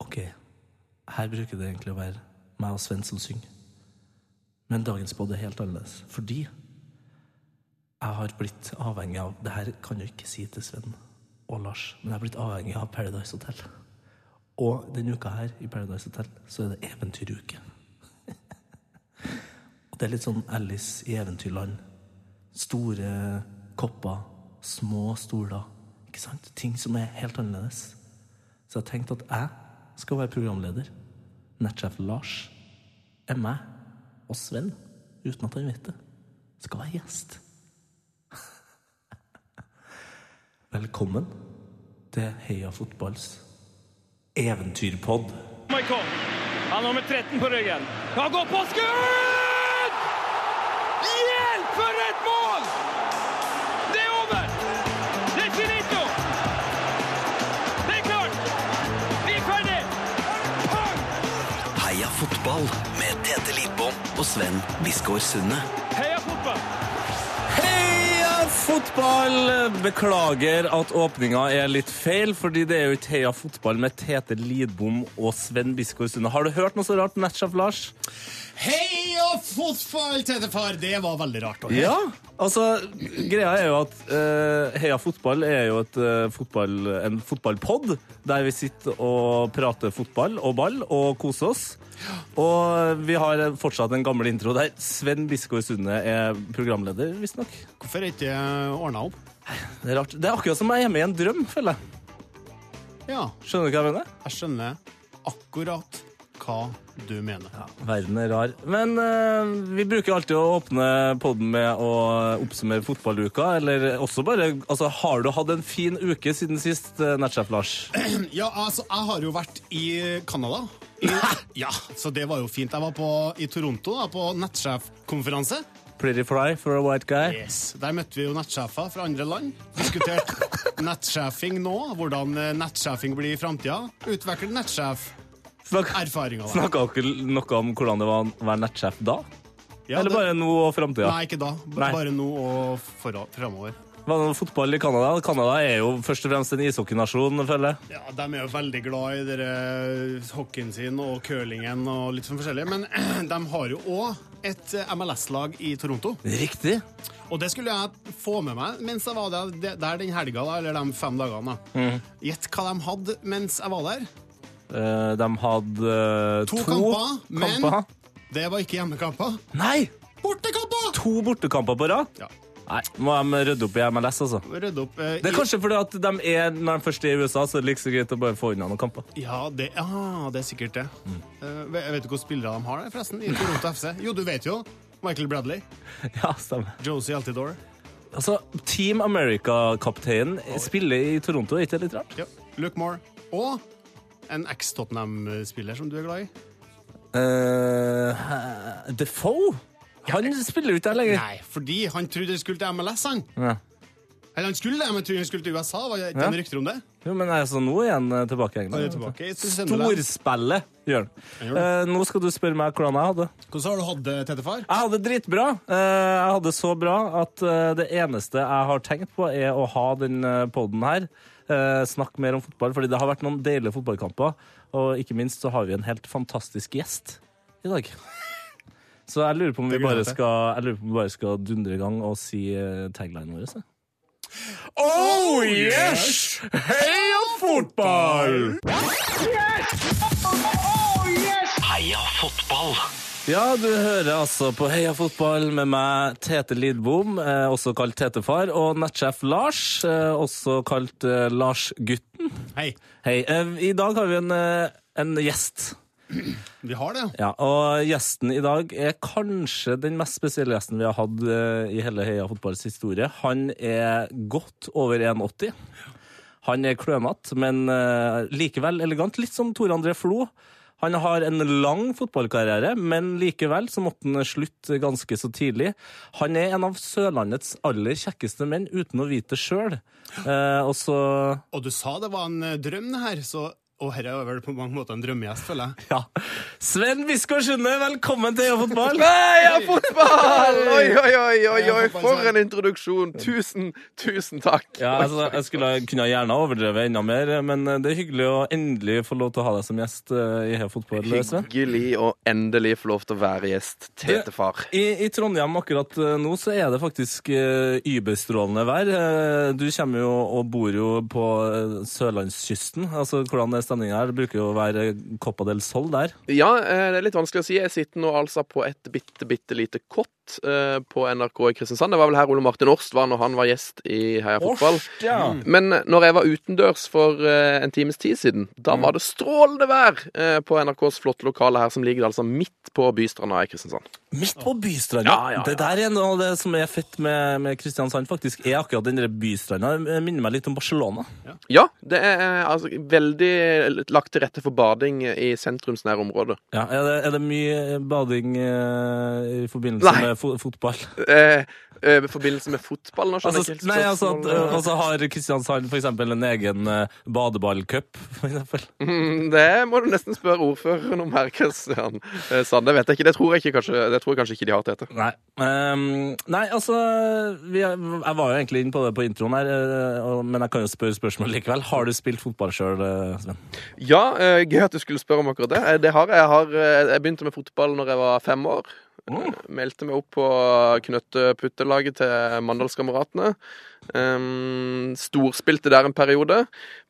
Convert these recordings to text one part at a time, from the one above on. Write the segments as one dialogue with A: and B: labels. A: Ok, her bruker det egentlig å være meg og Sven som synger. Men dagens podd er helt annerledes, fordi jeg har blitt avhengig av Det her kan jeg ikke si til Sven og Lars, men jeg har blitt avhengig av Paradise Hotel. Og denne uka her i Paradise Hotel så er det eventyruke. og det er litt sånn Alice i Eventyrland. Store kopper, små stoler. Ikke sant? Ting som er helt annerledes. Så jeg tenkte at jeg skal være programleder. Nettsjef Lars er meg og Sven, uten at han vet det, skal være gjest. Velkommen til Heia fotballs eventyrpod.
B: Michael. Han har nummer 13 på ryggen. Han går på skudd! Hjelp for et mål! Det er over! Det er finito! Det er klart! Vi er ferdig! Pang!
C: Heia fotball med Tete Lidbom og Sven Biskår Sunde.
B: Heia fotball!
D: Heia fotball! Beklager at åpninga er litt feil, fordi det er jo ikke Heia fotball med Tete Lidbom og Sven Biskår Sunde. Har du hørt noe så rart, Netsjef Lars?
E: Hei og fotball, Tedefar! Det var veldig rart. å høre.
D: Ja. Altså, greia er jo at eh, Heia fotball er jo et, eh, fotball, en fotballpod der vi sitter og prater fotball og ball og koser oss. Og vi har fortsatt en gammel intro der Sven Biskår Sunde er programleder, visstnok.
E: Hvorfor er ikke ordna opp?
D: Det er rart. Det er akkurat som jeg er hjemme i en drøm, føler jeg.
E: Ja,
D: Skjønner du hva jeg mener?
E: jeg skjønner akkurat hva du mener.
D: Verden er rar. Men eh, vi bruker alltid å åpne podden med å oppsummere fotballuka. Eller også bare altså, Har du hatt en fin uke siden sist, eh, Nettsjef Lars?
E: Ja, altså, jeg har jo vært i Canada. I, ja, så det var jo fint. Jeg var på, i Toronto da, på nettsjefkonferanse.
D: Pretty fly for a white guy.
E: Yes. Der møtte vi jo nettsjefer fra andre land. Diskuterte nettsjefing nå, hvordan eh, nettsjefing blir i framtida. Utvikle nettsjef-erfaringer.
D: Snak, Snakka dere noe om hvordan det var å være nettsjef da?
E: Ja,
D: eller
E: det-
D: bare nå og framtida?
E: Nei, ikke da. B-
D: Nei.
E: Bare nå og framover.
D: Hva med Fotball i Canada Canada er jo først og fremst en ishockeynasjon, føler jeg.
E: Ja, De er jo veldig glad i dere eh, hockeyen sin og curlingen og litt sånn forskjellig. Men de har jo òg et eh, MLS-lag i Toronto.
D: Riktig.
E: Og det skulle jeg få med meg mens jeg var der, der den helga, da, eller de fem dagene. da.
D: Mhm.
E: Gjett hva de hadde mens jeg var der.
D: Eh, de hadde eh,
E: To kamper, men-
D: kamper.
E: Det var ikke hjemmekamper.
D: Nei!
E: Bortekamper!
D: To bortekamper på rad.
E: Ja.
D: Nei, må de rydde opp i MLS, altså.
E: Rydde opp eh,
D: Det
E: i-
D: er kanskje fordi at de er, når de først er i USA, så er det like så greit å bare få unna noen kamper.
E: Ja, det, ja, det er sikkert det.
D: Mm.
E: Eh, ve- vet du hvilke spillere de har der, forresten? I Toronto FC? Jo, du vet jo. Michael Bradley.
D: Ja, stemmer.
E: Josie Altidore.
D: Altså, Team America-kapteinen spiller i Toronto, er ikke det litt rart?
E: Ja. Luke Moore. Og en eks-Tottenham-spiller som du er glad i.
D: Uh, Defoe? Han spiller jo ikke der lenger.
E: Nei, fordi han trodde han skulle til MLS, han.
D: Ja.
E: Eller han skulle det, men trodde han skulle til USA. Var det ikke
D: Ja.
E: noen rykter om det?
D: Jo, men altså, nå er han eh, tilbake i
E: Han er
D: England.
E: tilbake. i Sunderland.
D: Storspillet, gjør han.
E: Han gjør
D: Eh, nå skal du spørre meg hvordan jeg hadde.
E: Hvordan har du hatt det, Tettefar?
D: Jeg hadde dritbra. Eh, Jeg hadde så bra at eh, det eneste jeg har tenkt på, er å ha den eh, podden her. Eh, Snakk mer om fotball, fordi det har vært noen deilige fotballkamper. Og ikke minst så har vi en helt fantastisk gjest i dag. Så jeg lurer på om vi
E: Det gleder
D: bare
E: jeg til.
D: skal, jeg lurer på om vi bare skal dundre i gang og si eh, taglinen vår. Så.
E: Oh yes!
D: Heia fotball!
C: Heia fotball!
D: Ja, du hører altså på Heia fotball med meg, Tete Lidbom, eh, også kalt Tetefar, og nettsjef Lars, eh, også kalt eh, Larsgutten.
E: Hei,
D: Hei. Eh, I dag har vi en, eh, en gjest.
E: vi har det.
D: Ja, og gjesten i dag er kanskje den mest spesielle gjesten vi har hatt eh, i hele Heia fotballs historie. Han er godt over 1,80. Han er klønete, men eh, likevel elegant. Litt som Tor André Flo. Han har en lang fotballkarriere, men likevel så måtte han slutte ganske så tidlig. Han er en av Sørlandets aller kjekkeste menn, uten å vite det sjøl. Eh, og så
E: Og du sa det var en eh, drøm, det her. Så, og dette er vel på mange måter en drømmegjest, føler jeg.
D: Ja. Sven Biskår Sunde, velkommen til Heia fotball!
F: Heia fotball! Oi, oi, oi, oi, oi,
E: Heia fotball,
F: for en introduksjon. Tusen, tusen takk.
D: sånn. Ja, altså, jeg skulle ha- kunne ha gjerne ha overdrevet enda mer, men eh, det er hyggelig å endelig få lov til å ha deg som gjest eh, i Heia fotball, Sven.
F: Hyggelig å endelig få lov til å være gjest. Tetefar.
D: I, I Trondheim akkurat eh, nå så er det faktisk eh, überstrålende vær. Eh, Du kommer jo og bor jo på eh, sørlandskysten. Altså, Hvordan er stemninga her? Det bruker jo å være Copa del Sol der.
F: Ja, eh, det er litt vanskelig å si. Jeg sitter nå altså på et bitte, bitte lite kott eh, på NRK i Kristiansand. Det var vel her Ole Martin Årst var når han var gjest i Heia fotball. Mm. Men eh, når jeg var utendørs for eh, en times tid siden,
D: Mm.
F: da var det strålende vær eh, på NRKs flotte lokale her, som ligger altså midt på bystranda i Kristiansand.
D: Midt på bystranda.
F: Ja, ja, ja.
D: Det der er noe av det som er fett med, med Kristiansand, faktisk. Er akkurat den der bystranda. Det minner meg litt om Barcelona.
F: Ja, det er eh, altså, veldig lagt til rette for bading i sentrumsnære områder.
D: Ja, er, det, er det mye bading eh, i forbindelse
F: Nei.
D: med fo fotball?
F: Eh, eh, I forbindelse med fotball? Nå skjønner
D: Altså,
F: jeg ikke
D: nei,
F: helt
D: altså,
F: sånn
D: at,
F: spørsmålet.
D: eh, altså har Kristiansand for eksempel en egen eh, badeballcup, for eksempel?
F: Mm, Det må du nesten spørre ordføreren om her, Kristian Eh, Sande. Vet jeg ikke. Det tror jeg, ikke, kanskje, det tror jeg kanskje ikke de har til dette.
D: Nei. Ehm, nei, altså vi, er- Jeg var jo egentlig inne på det på introen her, eh, og- men jeg kan jo spørre spørsmål likevel. Har du spilt fotball sjøl, Sven?
F: Ja, eh, gøy at du skulle spørre om akkurat det. Eh, Det har jeg. Jeg, har, eh, jeg begynte med fotball når jeg var fem år. Eh, Meldte meg opp på knøtteputtelaget til Mandalskameratene. Um, storspilte der en periode.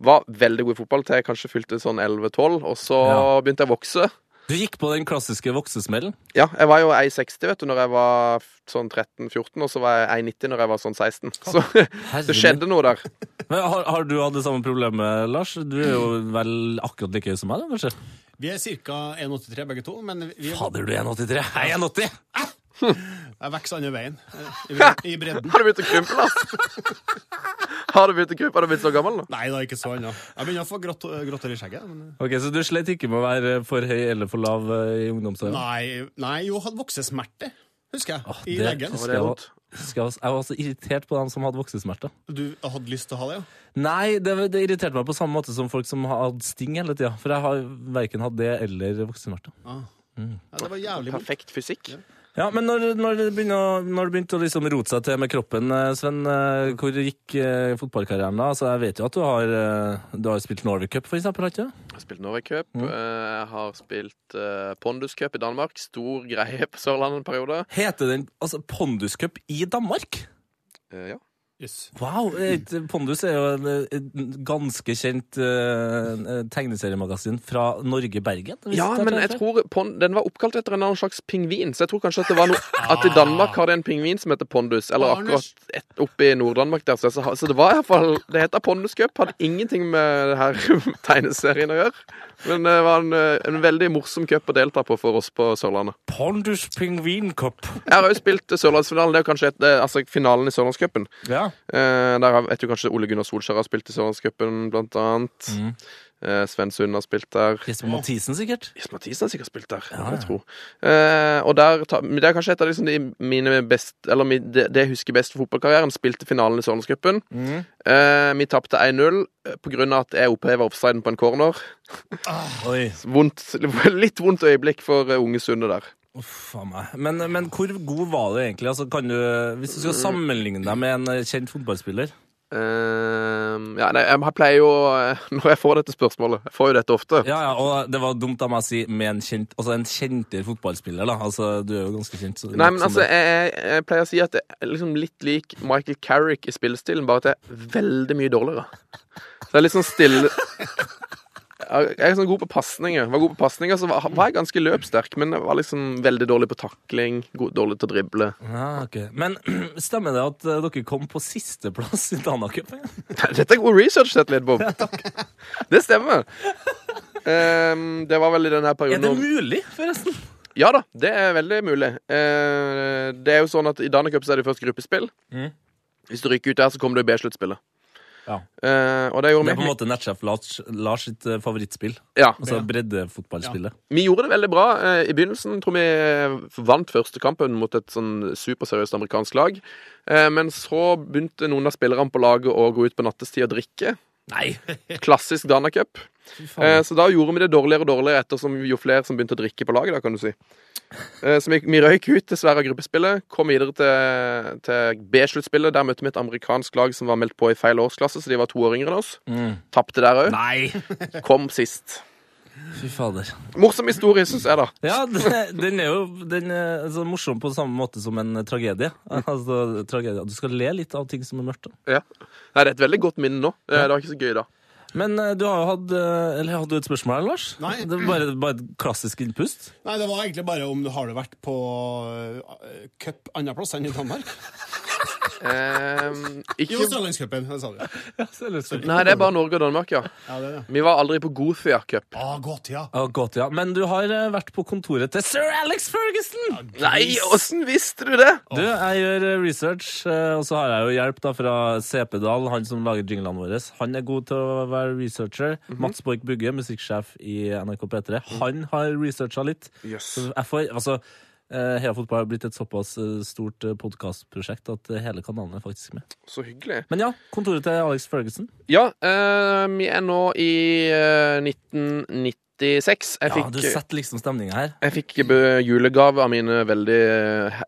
F: Var veldig god i fotball til jeg kanskje fylte sånn 11-12, og så
D: Ja.
F: begynte jeg å vokse.
D: Du gikk på den klassiske voksesmellen.
F: Ja, jeg var jo 1,60 vet du, når jeg var f- sånn 13-14, og så var jeg 1,90 når jeg var sånn 16. Så
D: Herregud.
F: det skjedde noe der.
D: Men har, har du hatt det samme problemet, Lars? Du er jo vel akkurat like høy som meg, da, kanskje?
E: Vi er ca. 1,83 begge to, men vi er,
D: Fader, du er 1,83. Jeg er 1,80!
E: jeg vokser andre veien. eh, I, bred- I bredden.
F: Har du begynt å krympe, Lars? Har du begynt å krympe? Har du blitt så gammel nå?
E: Nei da, ikke så ennå. Jeg begynner å få grått, grått hår i skjegget. Men...
D: Ok, Så du slet ikke med å være for høy eller for lav eh, i ungdomsåra?
E: Nei, nei, jo, hadde voksesmerter, husker jeg. I
D: det-
E: leggen.
D: Skal jeg- Husker Jeg, var- jeg var så irritert på dem som hadde voksesmerter.
E: Du hadde lyst til å ha det, ja?
D: Nei, det, det irriterte meg på samme måte som folk som har hatt sting hele tida. For jeg har verken hatt det eller voksesmerter.
F: Mm.
E: ja det var jævlig vondt.
F: Perfekt fysikk.
D: Ja, Men når, når, det begynner, å- når det begynte å liksom rote seg til med kroppen, eh, Sven, eh, hvor gikk eh, fotballkarrieren da? Altså, Jeg vet jo at du har, eh, du har spilt Norway Cup, for eksempel, har du ikke det?
F: Jeg har spilt Norway Cup. eh, Jeg har spilt eh, Pondus Cup i Danmark. Stor greie på Sørlandet en periode.
D: Heter den altså, Pondus Cup i Danmark?
F: Eh, ja.
E: Yes.
D: Wow! Et, Pondus er jo en, en ganske kjent eh, tegneseriemagasin fra Norge-Bergen. hvis
F: ja,
D: det er
F: men
D: det
F: jeg
D: heter.
F: tror pon den var oppkalt etter en annen slags pingvin, så jeg tror kanskje at det var noe At i Danmark har det en pingvin som heter Pondus, eller akkurat et, oppe i Nord-Danmark der. Så, jeg, så det var iallfall Det heter Pondus Cup, hadde ingenting med det her tegneserien å gjøre. Men det var en, eh, en veldig morsom cup å delta på for oss på Sørlandet.
D: Pondus pingvinkopp.
F: Jeg har òg spilt Sørlandsfinalen. Det er jo kanskje et, eh, altså finalen i Sørlandscupen.
D: Ja.
F: Eh, der har- vet du kanskje Ole Gunnar Solskjær har spilt i Sørlandscupen, blant annet. Eh, Sven Sund har spilt der.
D: Jesper Mathisen, sikkert.
F: Jesper Mathisen har sikkert spilt der, jeg tror. Eh, og der, ta- men det er kanskje et av liksom de mine best, eller mi- det, det jeg husker best fra fotballkarrieren. Spilte finalen i Sørlandscupen. Eh, vi tapte 1-0 eh, på grunn av at jeg oppheva offsiden på en corner.
D: Oi,
F: Vondt, litt vondt øyeblikk for eh, unge Sunde der.
D: uff a meg. Men, men hvor god var du egentlig? Altså, kan du, hvis du skal sammenligne deg med en eh, kjent fotballspiller
F: Ehm, ja, nei, jeg pleier jo eh, Når jeg får dette spørsmålet Jeg får jo dette ofte.
D: Ja, ja, og det var dumt av meg å si med en kjent Altså en kjentere fotballspiller, da. Altså, du er jo ganske kjent. så-
F: Nei, men
D: som
F: altså,
D: det.
F: jeg, jeg, jeg pleier å si at jeg er liksom litt lik Michael Carrick i spillestilen, bare at jeg er veldig mye dårligere. Så jeg er litt sånn stille Jeg jeg er sånn god på pasninger. Var god på pasninger, så var var jeg ganske løpssterk, men jeg var liksom veldig dårlig på takling, god, dårlig til å drible.
D: Ja, ok. Men stemmer det at eh, dere kom på sisteplass i Danacupen?
F: Dette er god research, dette, Lidbom. Det stemmer. Ehm, det var vel i denne
D: Er
F: perioden
D: det
F: om-
D: mulig, forresten?
F: Ja da, det er veldig mulig. Eh, det er jo sånn at I Dana Cup så er det først gruppespill.
D: Mhm.
F: Hvis du ryker ut der, så kommer du i B-sluttspillet.
D: Ja.
F: Eh, og det
D: Det
F: gjorde
D: er på en
F: vi.
D: måte nettsjef Lars, Lars sitt eh, favorittspill.
F: Ja.
D: Altså breddefotballspillet.
F: Vi gjorde det veldig bra eh, i begynnelsen. Tror vi eh, vant første kampen mot et sånn superseriøst amerikansk lag. Eh, men så begynte noen av spillerne på laget å gå ut på nattestid og drikke.
D: Nei!
F: Klassisk Dana Cup. Eh, så da gjorde vi det dårligere og dårligere ettersom jo flere som begynte å drikke på laget. da, kan du si. Eh, så vi, vi røyk ut dessverre av gruppespillet, kom videre til, til B-sluttspillet. Der møtte vi et amerikansk lag som var meldt på i feil årsklasse, så de var to år yngre enn oss. Tapte der
D: Mm.
F: òg.
D: Nei!
F: Kom sist.
D: Fy fader.
F: Morsom historie, syns jeg, da.
D: Ja, den den er jo den er så morsom på samme måte som en eh, tragedie. Altså, tragedie. Du skal le litt av ting som er mørkt. da.
F: Ja. Nei, det er et veldig godt minne nå. Eh, Det var ikke så gøy da.
D: Men eh, du har jo hatt eh, Eller hadde du et spørsmål her, Lars?
E: Nei.
D: Det var bare, bare et klassisk innpust?
E: Nei, det var egentlig bare om du har du vært på eh, cup andreplass enn i Danmark.
F: Eh,
E: I
F: ikke...
E: Australianscupen, det sa du.
F: Nei, det er bare Norge og Danmark, ja.
E: Ja, det er det.
F: Vi var aldri på Gothia Cup.
E: Ah, godt, ja.
D: Ja, godt, ja. Men du har eh, vært på kontoret til sir Alex Ferguson!
F: Nei, åssen visste du det?!
D: Du, jeg gjør eh, research, eh, og så har jeg jo hjelp da fra CP-Dal, han som lager jinglene våre. Han er god til å være researcher. Mats Borch Bugge, musikksjef i NRK P3, han har researcha litt.
F: Jøss.
D: Så jeg får, altså, eh, Heia Fotball har blitt et såpass eh, stort podkastprosjekt at eh, hele kanalen er faktisk med.
F: Så hyggelig.
D: Men ja, kontoret til Alex Ferguson.
F: Ja, eh, vi er nå i eh, 1996. Jeg
D: Ja, du
F: fikk,
D: setter liksom stemninga her.
F: jeg fikk be- julegave av mine veldig eh,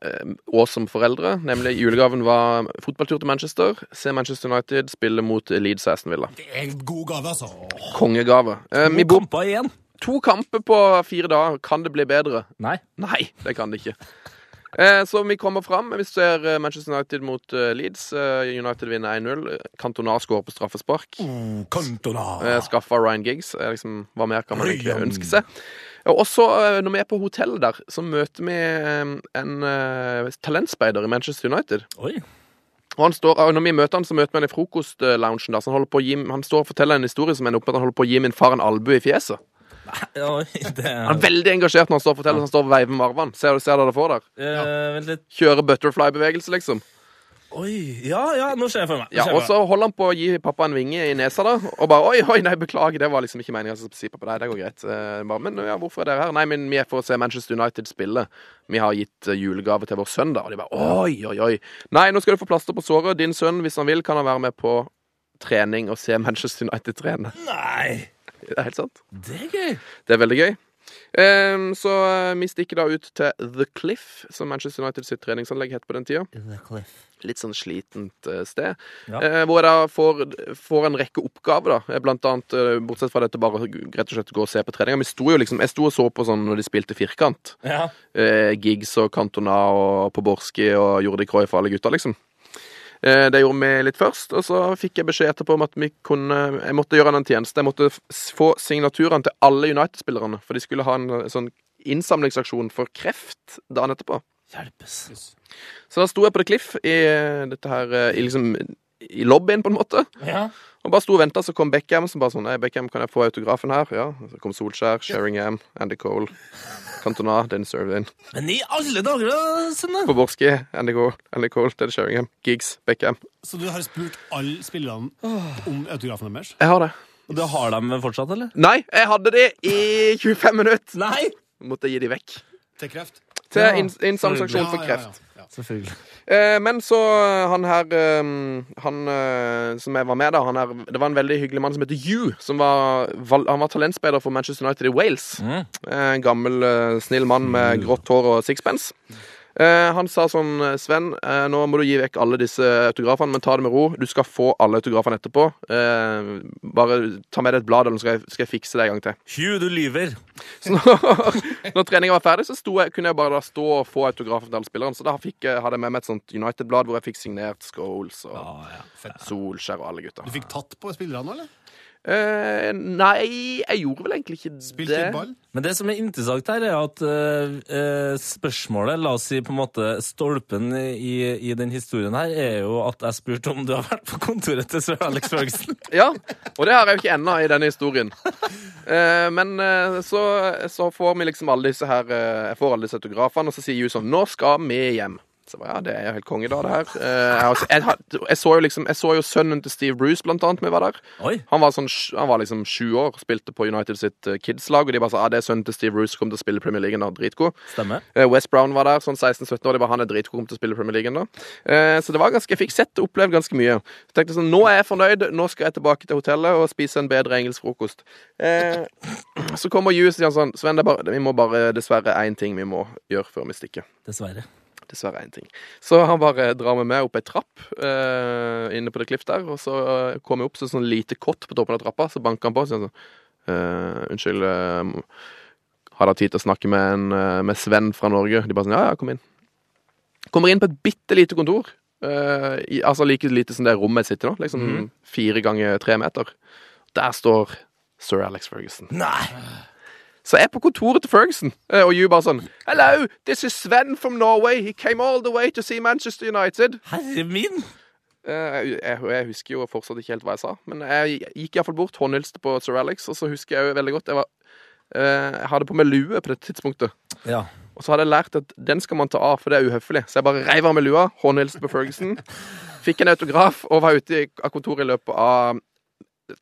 F: awesome foreldre. Nemlig julegaven var fotballtur til Manchester. Se Manchester United spille mot Leeds og Aston Villa.
E: Det er en god gave, altså.
F: Kongegave. Eh, vi
D: Vi
F: bor
D: bompa igjen.
F: to kamper på fire dager. Kan det bli bedre?
D: Nei.
F: Nei, det kan det ikke. Eh, så vi kommer fram. Vi ser eh, Manchester United mot eh, Leeds. Eh, United vinner 1-0. Cantona skårer på straffespark.
E: Kantona.
F: Eh, Skaffa Ryan Giggs. Eh, liksom, hva mer kan man egentlig ønske seg? Og så, eh, når vi er på hotellet der, så møter vi eh, en eh, talentspeider i Manchester United.
D: Oi.
F: Og han står, og når vi møter han, så møter vi han i frokostloungen der. Så han, holder på å gi, han står og forteller en historie som ender opp med at han holder på å gi min far en albue i fjeset.
D: Oi, det
F: Han er veldig engasjert når han står og forteller, så han står og veiver med armene. Ser du ser dere det for deg?
D: eh, Vent litt.
F: Kjører butterfly-bevegelse, liksom.
D: Oi. Ja, ja, nå ser jeg for meg. Nå
F: Ja,
D: ser jeg
F: og
D: for meg.
F: så holder han på å gi pappa en vinge i nesa, da. Og bare Oi, oi, nei, beklager, det var liksom ikke meninga å si pappa. Nei, det går greit. Eh, Bare, men ja, hvorfor er dere her? Nei, men vi er for å se Manchester United spille. Vi har gitt eh, julegave til vår sønn, da. Og de bare Oi, oi, oi. Nei, nå skal du få plaster på såret. Din sønn, hvis han vil, kan han være med på trening og se Manchester United trene.
D: Nei!
F: Det er helt sant.
D: Det er gøy.
F: Det er veldig gøy. Ehm, så eh, vi stikker da ut til The Cliff, som Manchester United sitt treningsanlegg het på den tida. Litt sånn slitent eh, sted.
D: Ja.
F: Eh, hvor jeg da får, får en rekke oppgaver, da. Eh, Blant annet, eh, bortsett fra dette, bare rett og slett gå og se på treninga. Vi sto jo liksom, jeg sto og så på sånn når de spilte firkant.
D: Ja.
F: Eh, Gigs og Cantona og Poborski og Jordi Cruyff og alle gutta, liksom. Eh, Det gjorde vi litt først, og så fikk jeg beskjed etterpå om at vi kunne, jeg måtte gjøre han en tjeneste. Jeg måtte f- s- få signaturene til alle United-spillerne, for de skulle ha en eh, sånn innsamlingsaksjon for kreft dagen etterpå.
D: Hjelpes.
F: Så da sto jeg på The Cliff i eh, dette her, eh, i liksom, i lobbyen på en måte,
D: Ja.
F: og bare sto og venta, så kom Beckham som bare sånn Nei, Beckham, kan jeg få autografen her? Ja. Så kom Solskjær, Sheringham, Andy Cole, Cantona, Dennis Irvin.
D: Men i alle dager, da, Sunne!
F: Poborski, Andy Cole, Andy Cole, Ted Sheringham, Giggs, Beckham.
E: Så du har spurt alle spillerne om autografen deres?
F: Jeg har det.
D: Og det har de fortsatt, eller?
F: Nei, jeg hadde det i 25 minutter!
D: Nei!
F: Måtte jeg gi de vekk.
E: Til kreft?
F: Til
D: Ja,
F: inn- innsamlingsaksjon for
E: ja,
F: kreft.
E: Ja, ja.
D: Selvfølgelig.
F: Eh, men så eh, han her eh, Han eh, som jeg var med, da han her, Det var en veldig hyggelig mann som heter Hugh. Som var, val- han var talentspeider for Manchester United i Wales.
D: Mm.
F: Eh, En gammel, eh, snill mann med grått hår og sixpence. Eh, han sa sånn Sven, eh, nå må du gi vekk alle disse autografene, men ta det med ro. Du skal få alle autografene etterpå. Eh, bare ta med deg et blad, eller så skal jeg, skal jeg fikse det en gang til.
D: Hugh, du lyver!
F: Så når, når treninga var ferdig, så sto jeg, kunne jeg bare da stå og få autografen til alle spillerne. Så da fikk jeg, hadde jeg med meg et sånt United-blad hvor jeg fikk signert Scholes og Solskjær og alle gutta.
E: Ah, Du fikk tatt på spillerne nå, eller?
F: Eh, nei, jeg gjorde vel egentlig ikke
E: Spilte
F: det.
E: ball?
D: Men det som er interessant her, er at eh, eh, spørsmålet, la oss si på en måte stolpen i, i den historien her, er jo at jeg spurte om du har vært på kontoret til sir Alex Ferguson.
F: Ja, og det har jeg jo ikke ennå i denne historien. Eh, men eh, så, så får vi liksom alle disse her eh, Jeg får alle disse autografene, og så sier hun sånn Nå skal vi hjem. Så jeg bare, ja, det er jo helt konge, da, det her. Eh, Jeg, har- jeg, har- jeg så jo liksom Jeg så jo sønnen til Steve Bruce, blant annet, vi var der.
D: Oi.
F: Han var, sånn, sj- han var liksom sju år, spilte på United sitt eh, kidslag, og de bare sa ja, det er sønnen til Steve Bruce, kom til å spille i Premier League, han er dritgod.
D: Stemmer.
F: Eh, Wes Brown var der, sånn 16-17 år. De bare, han er dritgod til å spille i Premier League. ennå». Eh, så det var ganske, jeg fikk sett og opplevd ganske mye. Så tenkte jeg sånn, Nå er jeg fornøyd, nå skal jeg tilbake til hotellet og spise en bedre engelsk frokost. Eh, så kommer Hugh og sier han sånn Sven, det er bare, vi må bare dessverre én ting vi må gjøre før vi stikker.
D: Dessverre.
F: Dessverre én ting. Så han bare drar meg med opp ei trapp eh, inne på det kliff der. Og så eh, kom jeg opp til et sånn lite kott på toppen av trappa, så banker han på og sier sånn eh, Unnskyld, eh, har dere tid til å snakke med, en, eh, med Sven fra Norge? De bare sånn Ja, ja, kom inn. Kommer inn på et bitte lite kontor. eh, i, altså like lite som det rommet jeg sitter i nå. Liksom fire ganger tre meter. Der står sir Alex Ferguson. Så jeg er på kontoret til Ferguson, eh, og you bare sånn Hello, this is Sven from Norway. He came all the way to see Manchester United.
D: Herre min!
F: Eh, jeg, jeg husker jo fortsatt ikke helt hva jeg sa, men jeg gikk iallfall bort, håndhilste på sir Alex, og så husker jeg jo veldig godt Jeg, var, eh, jeg hadde på meg lue på det tidspunktet.
D: Ja.
F: Og så hadde jeg lært at den skal man ta av, for det er uhøflig. Så jeg bare reiv av meg lua, håndhilste på Ferguson, fikk en autograf og var ute i- av kontoret i løpet av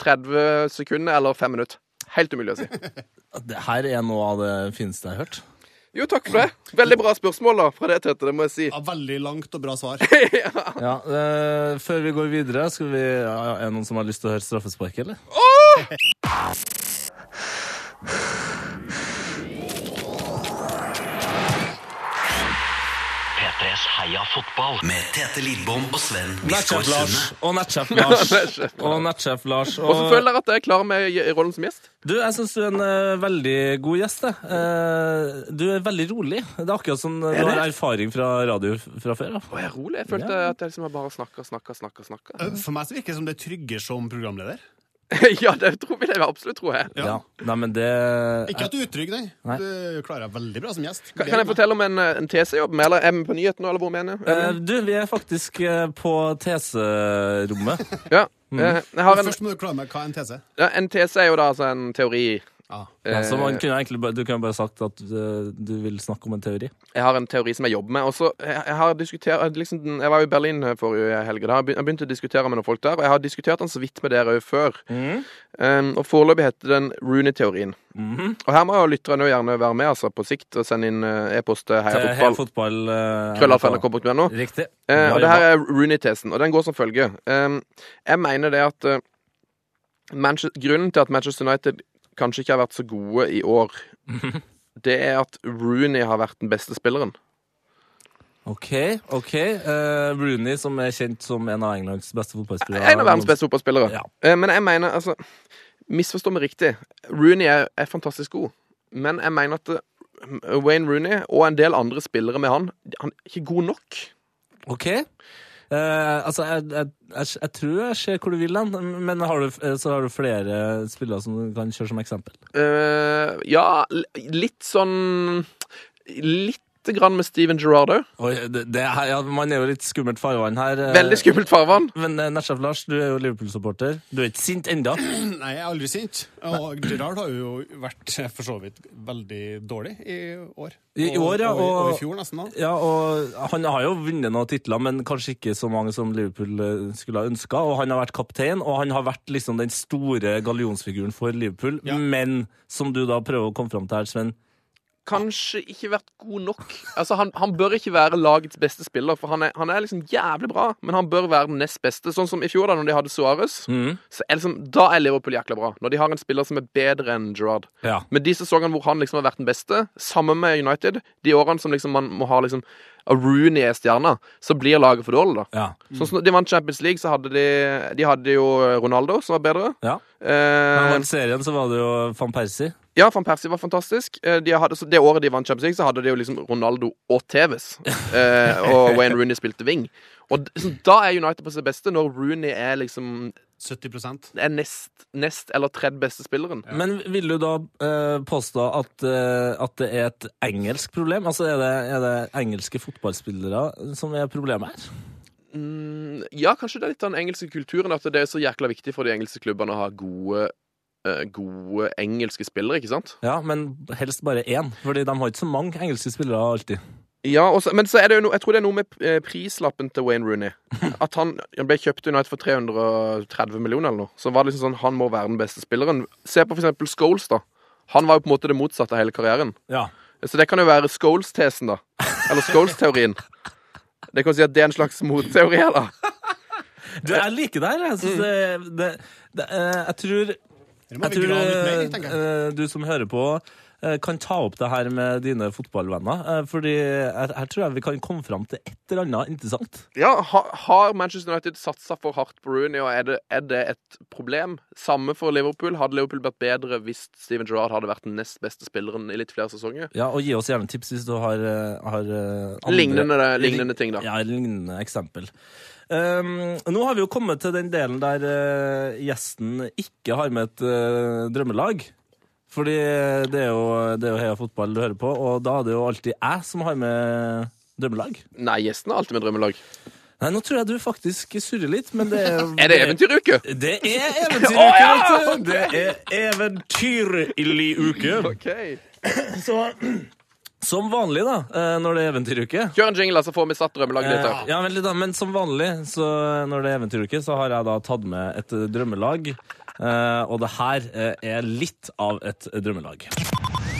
F: 30 sekunder eller 5 minutter. Helt umulig å si.
D: Det her er noe av det fineste jeg har hørt.
F: Jo, takk for det. Veldig bra spørsmål da, fra det, Tete. Det må jeg si.
E: Ja, veldig langt og bra svar.
D: Ja, eh, Før vi går videre, skal vi, ja, ja, er det noen som har lyst til å høre straffespark, eller?
C: P3s Heia fotball med Tete Lidbom og Sven Biskår
D: Nettsjef Lars
C: Sunde.
D: og nettsjef Lars. og nettsjef Lars.
F: Og så føler jeg at jeg er klar med i- i rollen som gjest.
D: Du, jeg syns du er en eh, veldig god gjest. jeg. Eh, du er veldig rolig. Det er akkurat som eh, du har erfaring fra radio f- fra før. Da.
F: Og jeg er rolig. Jeg følte at jeg liksom bare snakka, snakka, snakka. snakka.
E: For meg så virker det som det er trygge som programleder.
F: Ja, det tror vi det er absolutt, tror jeg.
E: Ja.
D: Ja. Nei, men det
E: Ikke at du er utrygg, nei.
D: Nei.
E: Du klarer deg veldig bra som gjest.
F: Kan, kan jeg fortelle om en, eh, en TC-jobb? -jobb? Eller er vi på nyheten nå, eller hvor mener
D: Eh, Du, vi er faktisk eh, på TC-rommet.
F: Ja. eh, Jeg har en,
E: mm. Først må du klare meg hva en TC
F: ja, en TC er jo da altså en teori.
E: ah.
D: Ja, så man
F: Eh,
D: kunne egentlig bare, du kunne bare sagt at eh, du vil snakke om en teori.
F: Jeg har en teori som jeg jobber med. Og så jeg, jeg har diskutert liksom, den- Jeg var jo i Berlin eh, forrige helg. og Da begyn- jeg begynte å diskutere med noen folk der. Og jeg har diskutert den så vidt med dere òg før.
D: Mhm.
F: Um, og foreløpig heter den Rooney-teorien.
D: Mhm.
F: Og her må jo lytterne jo gjerne være med altså, på sikt og sende inn eh, e-post til
D: Eh, Heia
F: heiafotball.
D: fotball. eh,
F: Krøllalfa.nrk.no.
D: Riktig.
F: Eh, og det
D: Ja,
F: her er Rooney-tesen, og den går som følger. Eh, jeg mener det at eh, Manche- Grunnen til at Manchester United kanskje ikke har vært så gode i år,
D: Mhm.
F: det er at Rooney har vært den beste spilleren.
D: OK. ok. Eh, Rooney, som er kjent som en av Englands beste fotballspillere.
F: En av verdens beste fotballspillere.
D: Ja.
F: Eh, Men jeg mener, altså Misforstå meg riktig. Rooney er, er fantastisk god, men jeg mener at eh, Wayne Rooney og en del andre spillere med han, han er ikke god nok.
D: OK. Eh, altså, jeg, jeg, jeg, jeg tror jeg ser hvor du vil hen, men har du, eh, så har du flere spillere som du kan kjøre som eksempel.
F: Eh, ja, l- litt sånn Lite grann med Steven Gerrard òg.
D: Oi, det, det her, ja, man er jo litt skummelt farvann her. eh,
F: Veldig skummelt farvann.
D: Men eh, Nesjef Lars, du er jo Liverpool-supporter. Du er ikke sint enda.
E: Nei, jeg er aldri sint. Og Gerard har jo vært eh, for så vidt veldig dårlig i år.
D: I- i år, ja,
E: Og, og, i- og
D: og-
E: i fjor, nesten. da.
D: Ja, og han har jo vunnet noen titler, men kanskje ikke så mange som Liverpool eh, skulle ha ønska. Og han har vært kaptein, og han har vært liksom den store gallionsfiguren for Liverpool.
E: Ja.
D: Men som du da prøver å komme fram til her, Sven.
F: Kanskje ikke vært god nok. Altså, han, han bør ikke være lagets beste spiller, for han er, han er liksom jævlig bra, men han bør være den nest beste. Sånn som i fjor, da når de hadde Suárez.
D: Mm.
F: Så er liksom, da er Liverpool jækla bra. Når de har en spiller som er bedre enn Gerrard.
D: Ja.
F: Men de sesongene hvor han liksom har vært den beste, sammen med United, de årene som liksom man må ha liksom a Rooney er stjerna, så blir laget for dårlig, da.
D: Ja.
F: Sånn som når de vant Champions League, så hadde de De hadde jo Ronaldo, som var bedre.
D: ja. Men
F: Eh,
D: vant serien, så var det jo van Persie.
F: ja, van Persie var fantastisk. Eh, De hadde, så det året de vant Champions League, så hadde de jo liksom Ronaldo og Tevez. Eh, og Wayne Rooney spilte wing. Og d- så da er United på sitt beste, når Rooney er liksom
E: 70
F: er nest, nest eller tredje beste spilleren.
D: Men vil du da eh, påstå at, eh, at det er et engelsk problem? Altså er det, er det engelske fotballspillere som er problemet her?
F: Ja, kanskje det er litt av den engelske kulturen at det er så jækla viktig for de engelske klubbene å ha gode eh, Gode engelske spillere, ikke sant?
D: Ja, men helst bare én, fordi de har ikke så mange engelske spillere alltid.
F: Ja, og så- men så er det jo no, jeg tror det er noe med eh, prislappen til Wayne Rooney. At han, han ble kjøpt til United for 330 millioner eller noe. Så var det liksom sånn, han må være den beste spilleren. Se på for eksempel Scholes, da. Han var jo på en måte det motsatte av hele karrieren.
D: Ja.
F: Så det kan jo være Scholes-tesen, da. Eller Scholes-teorien. Det kan si at det er en slags motteori her, da.
D: Du, jeg liker det her. Jeg, synes det, det, det, eh, jeg
E: Det må
D: tror, jeg
E: Mm. vi
D: tror
E: grave litt mer i, tenker jeg.
D: eh, du som hører på, eh, kan ta opp det her med dine fotballvenner. eh, Fordi her her tror jeg vi kan komme fram til et eller annet interessant.
F: Ja, ha- Har Manchester United satsa for hardt på Rooney, og er det, er det et problem? Samme for Liverpool. Hadde Liverpool vært bedre hvis Steven Gerrard hadde vært den nest beste spilleren i litt flere sesonger?
D: Ja, og gi oss gjerne tips hvis du har, eh, har eh, andre-
F: Lignende, det- lignende ting, da.
D: Ja, lignende eksempel. Um, nå har vi jo kommet til den delen der eh, gjesten ikke har med et eh, drømmelag. Fordi det er, jo, det er jo Heia Fotball du hører på, og da er det jo alltid jeg som har med drømmelag.
F: Nei, gjesten har alltid med drømmelag.
D: Nei, nå tror jeg du faktisk surrer litt, men det er
F: Er det eventyruke?
D: Det er eventyruke, vet du! Det er eventyrlig uke.
F: OK.
D: Som vanlig, da, eh, når det er eventyruke.
F: Kjør en jingle, så får vi satt drømmelaget ditt
D: Eh,
F: her.
D: ja, vent litt da, men som vanlig så når det er eventyruke, så har jeg da tatt med et eh, drømmelag. Eh, og det her eh, er litt av et drømmelag.
B: And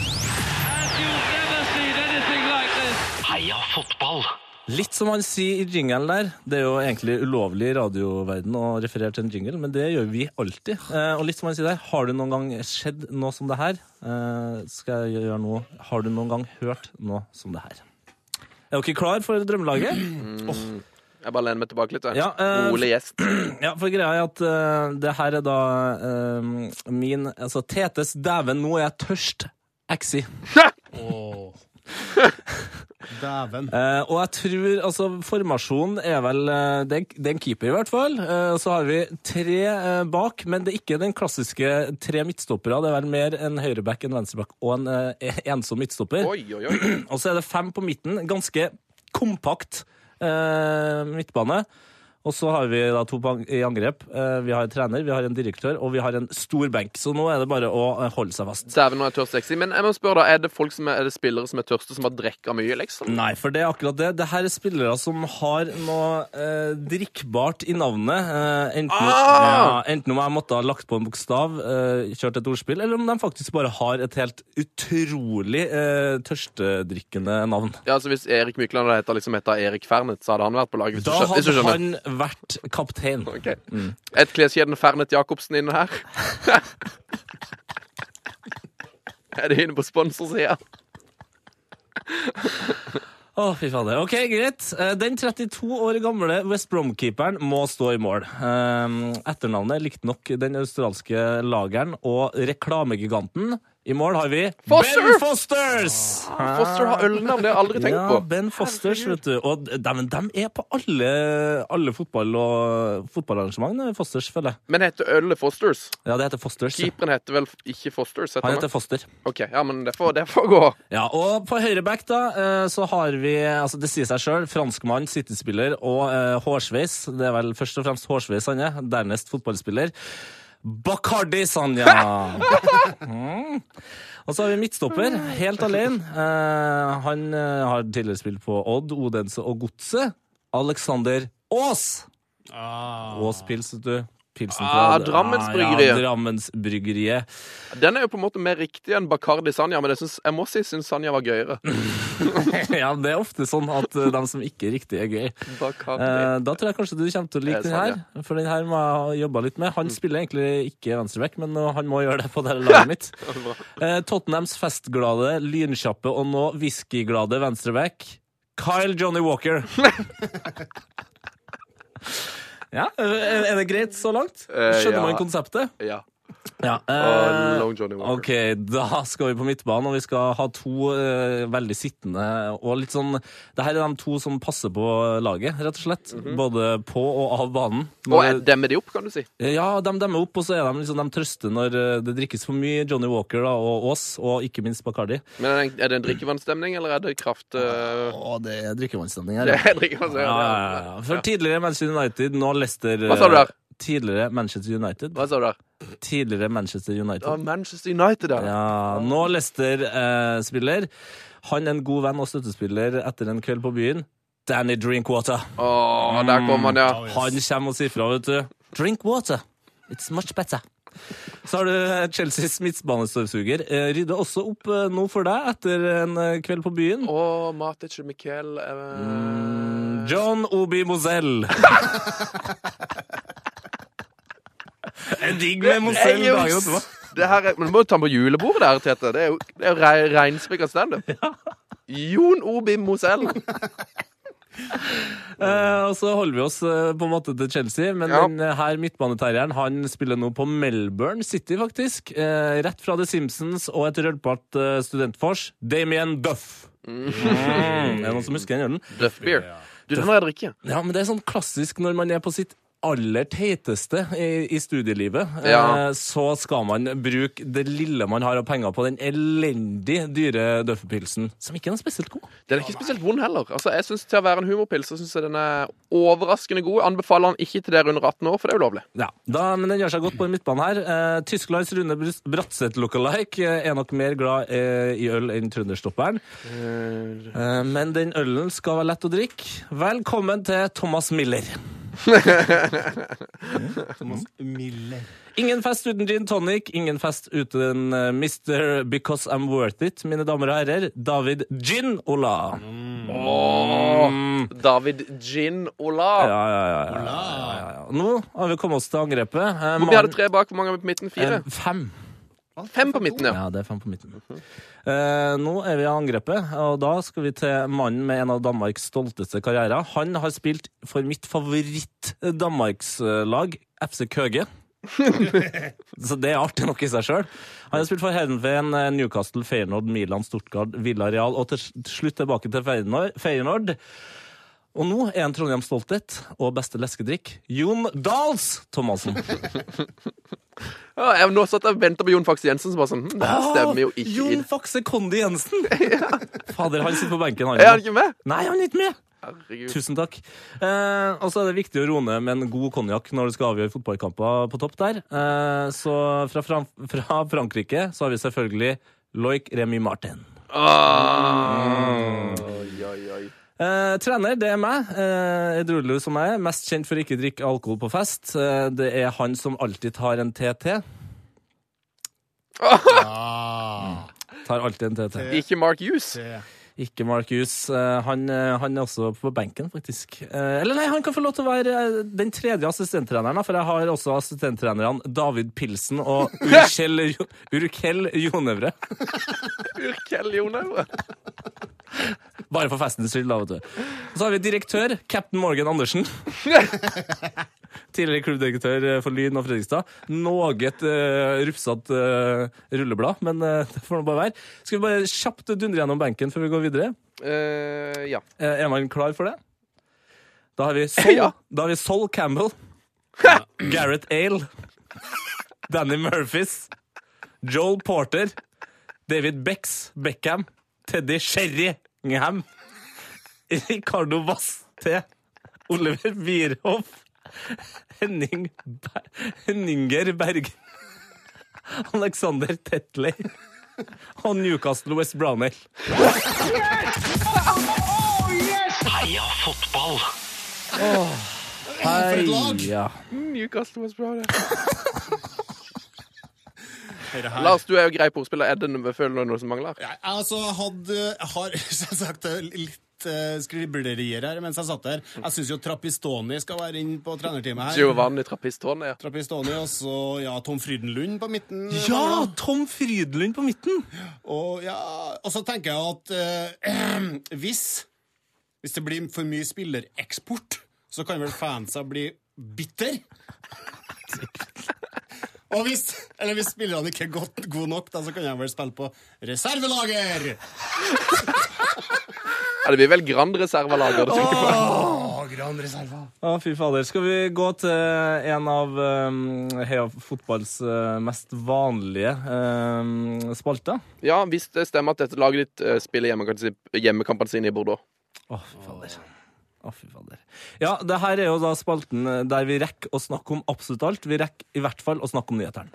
B: you've never seen anything like this.
C: Heia fotball!
D: Litt som han sier i jingelen der. Det er jo egentlig ulovlig i radioverden å referere til en jingle, men det gjør vi alltid. Eh, og litt som han sier der, har du noen gang skjedd noe som det her? Eh, skal jeg gjøre noe? Har du noen gang hørt noe som det her? Er dere klar for drømmelaget?
F: Jeg bare lener meg tilbake litt. jeg.
D: Ja, eh,
F: Rolig gjest.
D: Ja, for greia er at eh, det her er da eh, min Altså Tetes 'Dæven, nå er jeg tørst' exi.
E: Dæven.
D: Eh, og jeg tror altså Formasjonen er vel eh, det, er- det er en keeper, i hvert fall. Eh, så har vi tre eh, bak, men det er ikke den klassiske tre midtstoppere. Det er vel mer en høyreback, en venstreback og en eh, ensom midtstopper.
F: Oi, oi, oi.
D: Og så Altså er det fem på midten. Ganske kompakt eh, midtbane. Og så har vi da to på ang- i angrep. Eh, vi har en trener, vi har en direktør, og vi har en stor benk. Så nå er det bare å eh, holde seg fast.
F: Dæven, nå er jeg tørst sexy. Men jeg må spørre, da, er det folk som er, er det spillere som er tørste, som har drikka mye, liksom?
D: Nei, for det er akkurat det. Det her er spillere som har noe eh, drikkbart i navnet. Eh, enten,
F: Ah!
D: ja, enten om jeg måtte ha lagt på en bokstav, eh, kjørt et ordspill, eller om de faktisk bare har et helt utrolig eh, tørstedrikkende navn.
F: Ja, altså Hvis Erik Mykland hadde heta liksom, heta Erik Fernet, så hadde han vært på laget. Hvis,
D: Da
F: du, skjø- hvis du
D: hadde
F: skjønner.
D: han Mm. vært kaptein.
F: Ok. Et kleskjeden Fernet Jacobsen inne her. er de inne på sponsorsida?
D: Å, fy fader. Ok, greit. Eh, Den 32 år gamle West Brom-keeperen må stå i mål. Eh, Etternavnet likte nok den australske lageren og reklamegiganten. I mål har vi
F: Foster!
D: Ben Fosters!
F: Foster har ølnavn, det Ah, har jeg aldri tenkt
D: Ah. Ja,
F: på.
D: Ben Fosters, vet du. Og de, er på alle, alle fotball- og fotballarrangement, Fosters, føler jeg.
F: Men heter ølet Fosters?
D: Ja, det heter Fosters.
F: Keeperen heter vel ikke Fosters? Heter
D: Han
F: han
D: heter Foster.
F: Ok, ja, men det får, det får gå.
D: Ja, og på høyreback da, eh, så har vi, altså det sier seg selv, franskmann, City-spiller og eh, hårsveis. Det er vel først og fremst hårsveis han er, dernest fotballspiller. Bacardi Sanja! Mm. Og så har vi midtstopper, helt alene. Eh, han eh, har tidligere spilt på Odd, Odense og Godse. Alexander Aas!
E: Ah,
D: Aas Pils, vet du. Pilsen fra
F: Ah, Drammensbryggeriet.
D: Ja, Drammensbryggeriet.
F: Den er jo på en måte mer riktig enn Bacardi Sanja, men jeg, syns- jeg må si syns Sanja var gøyere.
D: Ja, det er ofte sånn at eh, de som ikke er riktig, er gøy.
F: Bacardi.
D: Eh, da tror jeg kanskje du kommer til å like
F: Det er
D: den
F: sant, Mm.
D: her. For den her må jeg ha jobba litt med. Han spiller egentlig ikke venstreback, men eh, han må gjøre det på det her laget mitt. Eh, Tottenhams festglade, lynkjappe og nå whiskyglade venstreback, Kyle Johnny Walker. ja, eh, er det greit så langt?
F: Eh,
D: Skjønner
F: ja.
D: man konseptet?
F: Ja.
D: Ja.
F: Og
D: eh,
F: Long Johnny Walker.
D: Ok, da skal vi på midtbanen, og vi skal ha to eh, veldig sittende og litt sånn Det her er de to som passer på laget, rett og slett.
F: Mhm.
D: Både på og av banen.
F: Og jeg demmer de opp, kan du si.
D: Ja, de demmer opp, og så er de liksom de trøster når eh, det drikkes for mye. Johnny Walker da, og oss, og ikke minst Bacardi.
F: Men er det en, er det en drikkevannsstemning, eller er det kraft... eh,
D: Å, det er drikkevannsstemning her.
F: det
D: Ja.
F: er drikkevann,
D: Ja, ja, ja. For tidligere Manchester United, nå Leicester eh,
F: Hva sa du der?
D: Tidligere Manchester United.
F: Hva sa du der?
D: Tidligere Manchester United.
F: Ja, Manchester United, ja.
D: Ja, nå Leicester-spiller. han er en god venn og støttespiller etter en kveld på byen. Danny Drinkwater.
F: Åh, der kom han, ja.
D: Han kommer og sier fra, vet du. Drink water. It's much better. Så har du eh, Chelseas midtbanestøvsuger. Eh, Rydder også opp eh, nå for deg etter en eh, kveld på byen.
F: Og Matic og Miquel eh,
D: John Obi Mozell. En digg med Mozell
F: Jeg er jo-
D: dagen etterpå.
F: Det her er, men Du må jo ta med på julebordet der, Tete. Det er jo, det er jo re reinspikka standup. Jon Obi Mosell.
D: Eh, og så holder vi oss eh, på en måte til Chelsea, men
F: Ja.
D: den eh, her midtbaneterrieren han spiller nå på Melbourne City, faktisk. Eh, rett fra The Simpsons og et rølpete eh, studentfors. Damien Duff. Mm. Er det noen som husker den? Jørgen?
F: Duff beer. Du, den må jeg drikke.
D: Ja, men det er sånn klassisk når man er på sitt aller teiteste i, i studielivet,
F: Ja.
D: eh, så skal man bruke det lille man har av penger på den elendig dyre Duff-pilsen, som ikke er noe spesielt god.
F: Den er ikke spesielt vond heller. Altså, jeg synes Til å være en humorpils så synes jeg den er overraskende god. Anbefaler den ikke til dere under 18 år, for det er ulovlig.
D: Ja, da, men den gjør seg godt på midtbanen her. Eh, Tysklands Rune Brus- Bratseth lookalike eh, er nok mer glad eh, i øl enn trønderstopperen. Eh, men den ølen skal være lett å drikke. Velkommen til Thomas Miller.
E: Miller.
D: Ingen fest uten gin tonic, ingen fest uten eh, Mr. Because I'm Worth It, mine damer og herrer. David Gin Ola.
F: David Gin Ola.
D: Ja, ja, ja, ja, ja, ja, ja. Nå har vi kommet oss til angrepet. Eh,
F: Hvor mye er det tre bak? Hvor mange er vi på midten? Fire?
D: Eh, Fem.
F: Fem på midten, ja.
D: Ja, det er fem på midten. Eh, nå er vi i angrepet, og da skal vi til mannen med en av Danmarks stolteste karrierer. Han har spilt for mitt eh, favoritt-Danmarkslag, FC Køge. Så det er artig nok i seg sjøl. Han har spilt for Hedenveen, Newcastle, Feyenoord, Milan, Stuttgart, Villarreal og til slutt tilbake til Feyenoord- Feyenoord. Og nå er han Trondheims stolthet og beste leskedrikk Jon Dahls Thomassen.
F: ja jeg, nå satt jeg og venta på Jon Faxe Jensen, som bare sånn hm, Det her stemmer jo
D: Ah,
F: ikke
D: Jon
F: inn.
D: Fakse Kondi Jensen! Fader, han sitter på benken, han.
F: Er han ikke med?
D: Nei, han er ikke med!
F: Herregud.
D: Tusen takk. Eh, og så er det viktig å roe ned med en god konjakk når du skal avgjøre fotballkamper på topp der. Eh, så fra, Fran fra Frankrike så har vi selvfølgelig Loic Remy Martin. Mm.
F: Ah. Oi, oi, oi.
D: Eh, trener, det er meg. Eh, Edrulo som jeg er. Mest kjent for å ikke drikke alkohol på fest. Eh, det er han som alltid tar en TT. Mm.
E: Ah,
D: Tar alltid en TT.
F: Ikke Mark Hughes.
E: det.
D: Ikke Marcus. Eh, Han, eh, han er også på benken, faktisk. Eh, Eller nei, han kan få lov til å være eh, den tredje assistenttreneren, da, for jeg har også assistenttrenerne David Pilsen og Urkel, Urkel Jonevre.
F: Urkel Jonau.
D: Bare for festens skyld, da, vet du. Og så har vi direktør, cap'n Morgan Andersen. Tidligere klubbdirektør eh, for Lyn og Fredrikstad. Noe uh, rufsete rulleblad, men eh, det får nå bare være. Skal vi bare kjapt dundre gjennom benken før vi går videre?
F: Eh, ja.
D: Eh, Er man klar for det? Da har vi Sol,
F: Ja.
D: da har vi Sol Campbell, Gareth Ale, Danny Murphys, Joel Porter, David Becks, Beckham, Teddy Sherringham, Ricardo Vasté, Oliver Wierhoff, Henning Ber Henninger Berg, Alexander Tetley og Newcastle West Brownell.
C: Heia fotball!
E: For et lag!
D: Ja.
F: Newcastle was bra, det.
E: Dette her.
F: Lars, du er jo grei på ordspiller. Er det noe- føler du noe som mangler?
E: Jeg altså, hadde, har selvsagt litt eh, skriblerier her mens jeg satt der. Jeg syns jo Trappistoni skal være inn på trenerteamet her.
F: Giovanni Trappistone, ja.
E: Trappistoni, og så ja, Tom Frydenlund på midten.
D: Ja, Tom Frydlund på midten!
E: Og, ja, og så tenker jeg at eh, hvis, hvis det blir for mye spillereksport, så kan vel fansa bli bitter. Og hvis, eller hvis spillerne ikke er godt, gode nok, da, så kan jeg vel spille på reservelager!
F: ja. Det blir vel Grand Reservalager du tenker på.
E: Å, gran reserva.
D: Å, fy fader. Skal vi gå til en av um, Heia fotballs eh, mest vanlige um, spalter?
F: Ja, hvis det stemmer at dette laget ditt eh, spiller hjemmekampen sin- hjemmekampene sine i Bordeaux.
D: Å, fy fader. Å, fy fader. Ja, det her er jo da spalten eh, der vi rekker å snakke om absolutt alt. Vi rekker i hvert fall å snakke om nyhetene.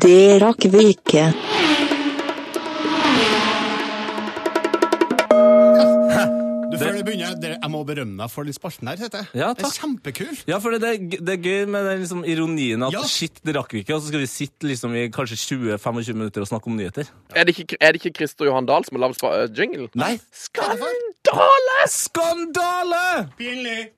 G: Det rakk vi ikke.
E: Du, før du begynner, dere- jeg må berømme deg for den spalten her, heter jeg.
D: Ja,
E: Det er
D: takk.
E: kjempekul.
D: Ja, for det, det, er g- det er gøy med den liksom ironien at
E: Ja.
D: shit, det rakk vi ikke, og så skal vi sitte liksom i kanskje 20-25 minutter og snakke om nyheter.
F: Er det ikke, er det ikke Christer Johan Dahl som har lagd spa- eh, jingle?
D: Nei,
F: Skandale!
D: skandale!
E: Pinlig.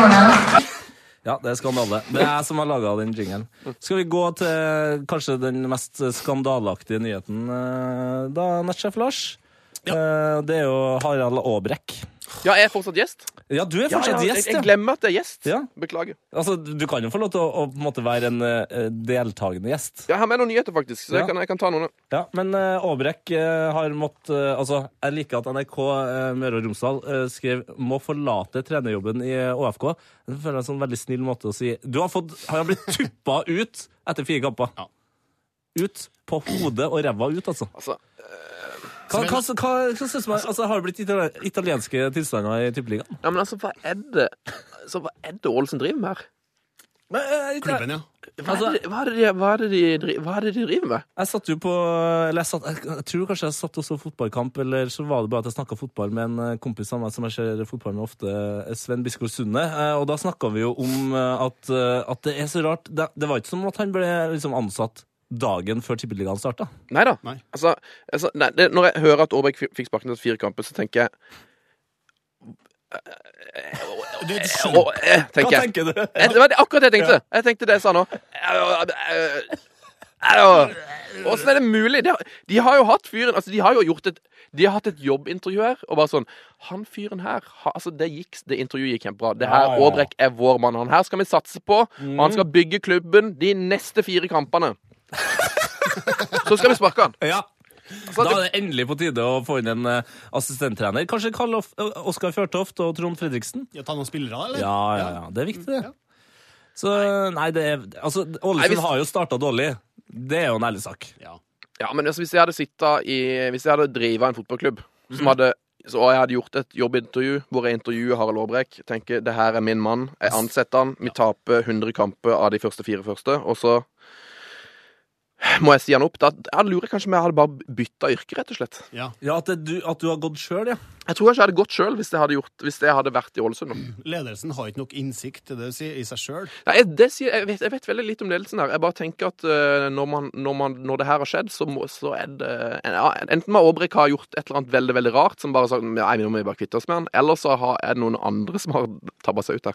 D: Ja, det er skandale. Det er jeg som har laga den jingelen. Skal vi gå til kanskje den mest skandaleaktige nyheten eh, da, nettsjef Lars? Eh, Det er jo Harald Aabrekk.
F: Ja, jeg er fortsatt gjest.
D: Ja, du er fortsatt
F: jeg,
D: gjest,
F: jeg
D: ja.
F: glemmer at jeg er gjest.
D: Ja.
F: Beklager.
D: Altså, du kan jo få lov til å, å på en måte være en eh, deltagende gjest.
F: Jeg har med noen nyheter, faktisk.
D: Ja.
F: Så jeg, kan, jeg kan ta noen.
D: Ja, men eh, Aabrekk eh, har mått eh, Altså, jeg liker at NRK eh, Møre og Romsdal eh, skrev 'må forlate trenerjobben i eh, ÅFK'. Det føler jeg er en sånn veldig snill måte å si Du har fått Han har blitt tuppa ut etter fire kamper.
E: Ja.
D: Ut på hodet og ræva ut, altså.
F: Altså,
D: Hva, hva, hva, hva synes man, altså, Har det blitt itali- italienske tilstander i Tippeligaen?
F: ja, men altså, hva er det Så hva er det Ålesund driver med her?
D: Men, eh, jeg-
E: Klubben, ja.
F: Hva
D: Altså-
F: er det, hva er det, de- hva er det, de, dri- hva er det de driver med?
D: Jeg satt jo på Eller jeg, satt, jeg, jeg tror kanskje jeg satt og så fotballkamp, eller så var det bare at jeg snakka fotball med en eh, kompis av meg som jeg ser fotball med ofte, eh, Sven Biskår Sunde. Eh, Og da snakka vi jo om eh, at, eh, at det er så rart det, det var ikke som at han ble liksom ansatt dagen før Tippeligaen starta.
F: Neida.
E: Nei.
F: Altså, altså, nei det, Når jeg hører at Aabæk fikk sparken etter fire kamper, så tenker jeg
E: Du, du
F: Å,
E: skjønner.
F: eh, tenker jeg.
D: tenker du?
F: Jeg- Det var det- akkurat det jeg tenkte. Jeg tenkte det jeg sa nå. Au, au, au. Åssen er det mulig? De har, de har jo hatt fyren altså De har jo gjort et De har hatt et jobbintervju her, og bare sånn Han fyren her ha, Altså, det gikk Det intervjuet gikk kjempebra. Det her, Aabrekk er vår mann. Han her skal vi satse på, og han skal bygge klubben de neste fire kampene. Så skal vi sparke han.
D: Ja.
F: Altså,
D: Da
F: det,
D: er det endelig på tide å få inn en eh, assistenttrener. Kanskje Karl Of- eh, Oskar Fjørtoft og Trond Fredriksen?
E: Ja, ta noen spillere, eller?
D: Ja, ja, ja. Det er viktig, det. Så nei, det er Altså,
F: Nei,
D: Ålesund
F: hvis-
D: har jo starta dårlig. Det er jo en ærlig sak.
E: Ja.
F: Ja, men altså, hvis jeg hadde sittet i Hvis jeg hadde drivet en fotballklubb som hadde så og jeg hadde gjort et jobbintervju hvor jeg intervjuer Harald Aabrekk. Tenker det her er min mann, jeg ansetter han. Vi taper 100 kamper av de første fire første, og så må jeg si han opp. Da jeg lurer jeg kanskje om jeg hadde bare bytta yrke, rett og slett.
E: ja.
D: Ja, at, det, du, at du har gått sjøl, ja.
F: Jeg tror kanskje jeg hadde gått sjøl hvis, jeg hadde gjort- hvis jeg hadde vært i Ålesund. nå.
E: Ledelsen har ikke nok innsikt til det å si, i seg sjøl.
F: Nei, jeg, det sier, jeg, vet, jeg vet veldig litt om ledelsen her. Jeg bare tenker at eh, når, man, når, man, når det her har skjedd, så, må, så er det en- ja, Enten må Aabrekk ha gjort et eller annet veldig veldig rart, som bare sagt Nei, nå må vi bare kvitte oss med han. Eller så har, er det noen andre som har tabba seg ut her.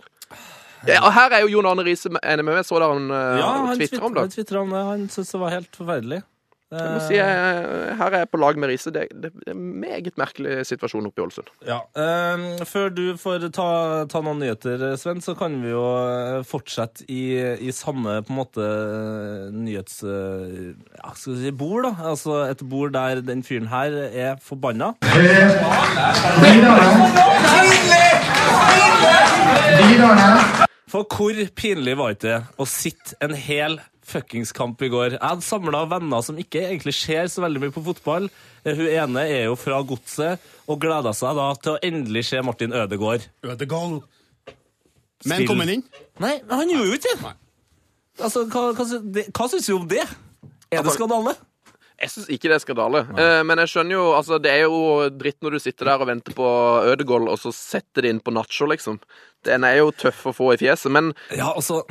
F: Ja, og her er jo Jon Arne Riise med- enig med meg. Så da han, uh,
D: Ja, han
F: tvitra om det.
D: Han, twittret om det. han syntes det var helt forferdelig.
F: Jeg må si, jeg, her er jeg på lag med Riise. Det, det, det er en meget merkelig situasjon oppe i Ålesund.
D: Ja. eh, før du får ta, ta noen nyheter, Sven, så kan vi jo eh, fortsette i, i samme på en måte eh, nyhets... eh, Ja, skal vi si bord, da. Altså et bord der den fyren her er forbanna. For hvor pinlig var ikke det å sitte en hel fuckings kamp i går? Jeg hadde samla venner som ikke egentlig ser så veldig mye på fotball. Eh, Hun ene er jo fra godset og gleda seg da til å endelig se Martin Ødegaard.
E: Ødegaard. Men
D: Spill.
E: kom han inn?
D: Nei, men han gjorde jo ikke det! Altså, hva, hva, sy- det- hva syns du om det? Er det skandale?
F: Jeg syns ikke det er skandale. Eh, men jeg skjønner jo altså, Det er jo dritt når du sitter der og venter på Ødegaard, og så setter de inn på nacho, liksom. Den er jo tøff å få i fjeset. Men
D: Ja, altså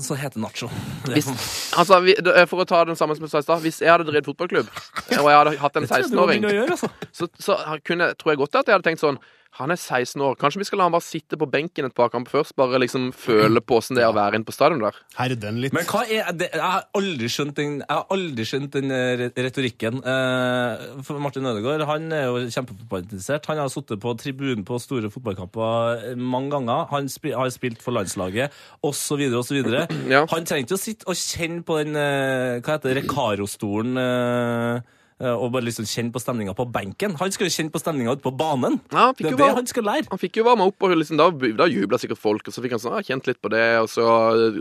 D: Så heter Nacho. Det,
F: hvis, altså, vi, det- for å ta den samme som jeg sa i stad Hvis jeg hadde drevet fotballklubb, og jeg hadde hatt en
D: det tror jeg
F: 16-åring,
D: du har noe å gjøre, altså.
F: så, så kunne, tror jeg godt at jeg hadde tenkt sånn han er 16 år. Kanskje vi skal la han bare sitte på benken et par kamper først? Bare liksom føle på åssen det er å være inne på stadion der.
E: Herde han litt.
D: Men hva er det? Jeg har aldri skjønt den, jeg har aldri skjønt den eh, re- retorikken. Eh, For Martin Ødegaard han er jo kjempefotballinteressert. Han har sittet på tribunen på store fotballkamper eh, mange ganger. Han spi- har spilt for landslaget osv. osv.
F: Ja.
D: Han trenger ikke å sitte og kjenne på den eh, hva heter det, Recaro-stolen eh,
A: eh, og bare liksom kjenne på stemninga på benken. Han skal jo kjenne på stemninga ute på banen.
F: Ja, han fikk
A: det er
F: jo
A: det
F: varm-
A: han skal lære.
F: Han fikk jo varma opp, og liksom, da, da jubla sikkert folk. Og så fikk han sånn, ah, kjent litt på det, og så,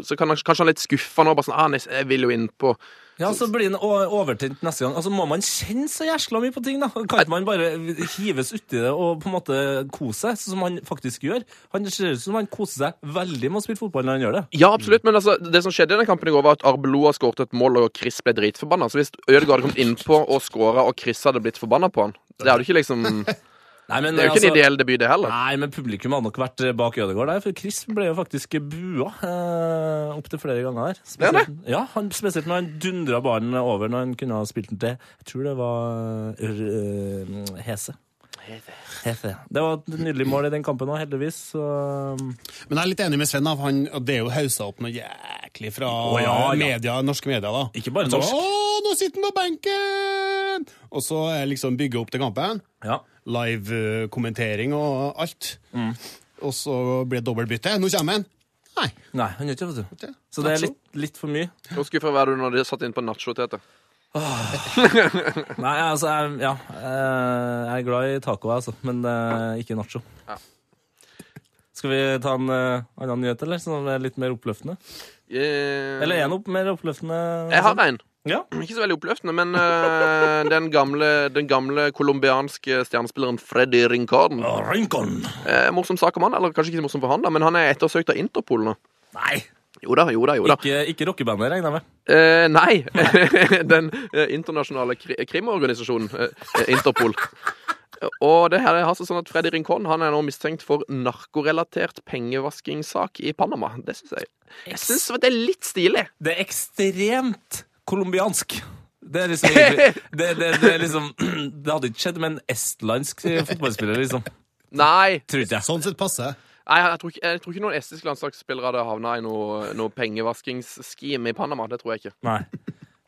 F: så kan han, kanskje han er litt skuffa nå. bare sånn, ah, nes- jeg vil jo innpå.
A: Ja, Så blir han o- overtent neste gang. Altså, Må man kjenne så jæsla mye på ting, da? Kan ikke man bare hives uti det og på en måte kose seg, sånn som han faktisk gjør? Han ser ut som han koser seg veldig med å spille fotball når han gjør det.
F: Ja, absolutt, men altså, det som skjedde i den kampen i går, var at Arbeloa skåret et mål, og Chris ble dritforbanna. Så hvis Ødegaard hadde kommet innpå og skåra, og Chris hadde blitt forbanna på han Det hadde ikke liksom Det
A: Nei, men,
F: er jo ikke en
A: altså-
F: ideell debut, det heller.
A: Nei, men publikum hadde nok vært eh, bak Ødegaard der, for Chris ble jo faktisk bua eh, opptil flere ganger der.
F: Det er det.
A: Spesielt- Ja, han, spesielt når han dundra ballen over når han kunne ha spilt den til Jeg tror det var eh, Hese. Hese. Det var et nydelig mål i den kampen òg, heldigvis. Så
E: Men jeg er litt enig med Sven. da, for Han, og det er jo haussa opp noe jæklig fra
A: Å, ja, ja.
E: media, norske medier. da.
A: Ikke bare
E: Så,
A: norsk.
E: Å, nå sitter han på benken! Og så er liksom bygge opp til kampen.
A: ja. Mm.
E: Live-kommentering og alt. Og så blir det dobbeltbytte. Nå kommer han! Nei.
A: Nei, han gjør ikke det, vet du. Så det er litt, litt for mye.
F: Hvor skuffa var du når de satt inn på nacho-tete?
A: Nei, altså, jeg, ja. eh, Jeg er glad i taco, altså, men eh, ikke nacho. Skal vi ta en eh, annen nyhet, eller? Som er litt mer oppløftende? Eller
F: Eller
A: er den opp, mer oppløftende?
F: Jeg har en.
A: Ja.
F: Ikke så veldig oppløftende, men eh, den gamle Den gamle colombianske stjernespilleren Freddy Rincon.
A: Rincon!
F: Eh, morsom sak om han, eller kanskje ikke så morsom for han, da, men han er ettersøkt av Interpol nå.
A: Nei!
F: Jo da, jo da, jo da.
A: Ikke, ikke rockebandet, regner jeg med.
F: Eh, nei. den eh, internasjonale kri krimorganisasjonen eh, Interpol. Og det her har seg sånn at Freddy Rincon han er nå mistenkt for narkorelatert pengevaskingssak i Panama. Det syns jeg Jeg syns det er litt stilig.
A: Det er ekstremt colombiansk. Det er liksom egentlig- det, det, det, er liksom, det hadde ikke skjedd med en estlandsk fotballspiller, liksom.
F: Nei,
A: Tror ikke jeg.
E: Sånn sett passer.
F: Nei, jeg tror, ikke, jeg tror ikke noen estiske landslagsspillere hadde havna i noe, noe pengevaskingsscheme i Panama. Det tror jeg ikke.
A: Nei.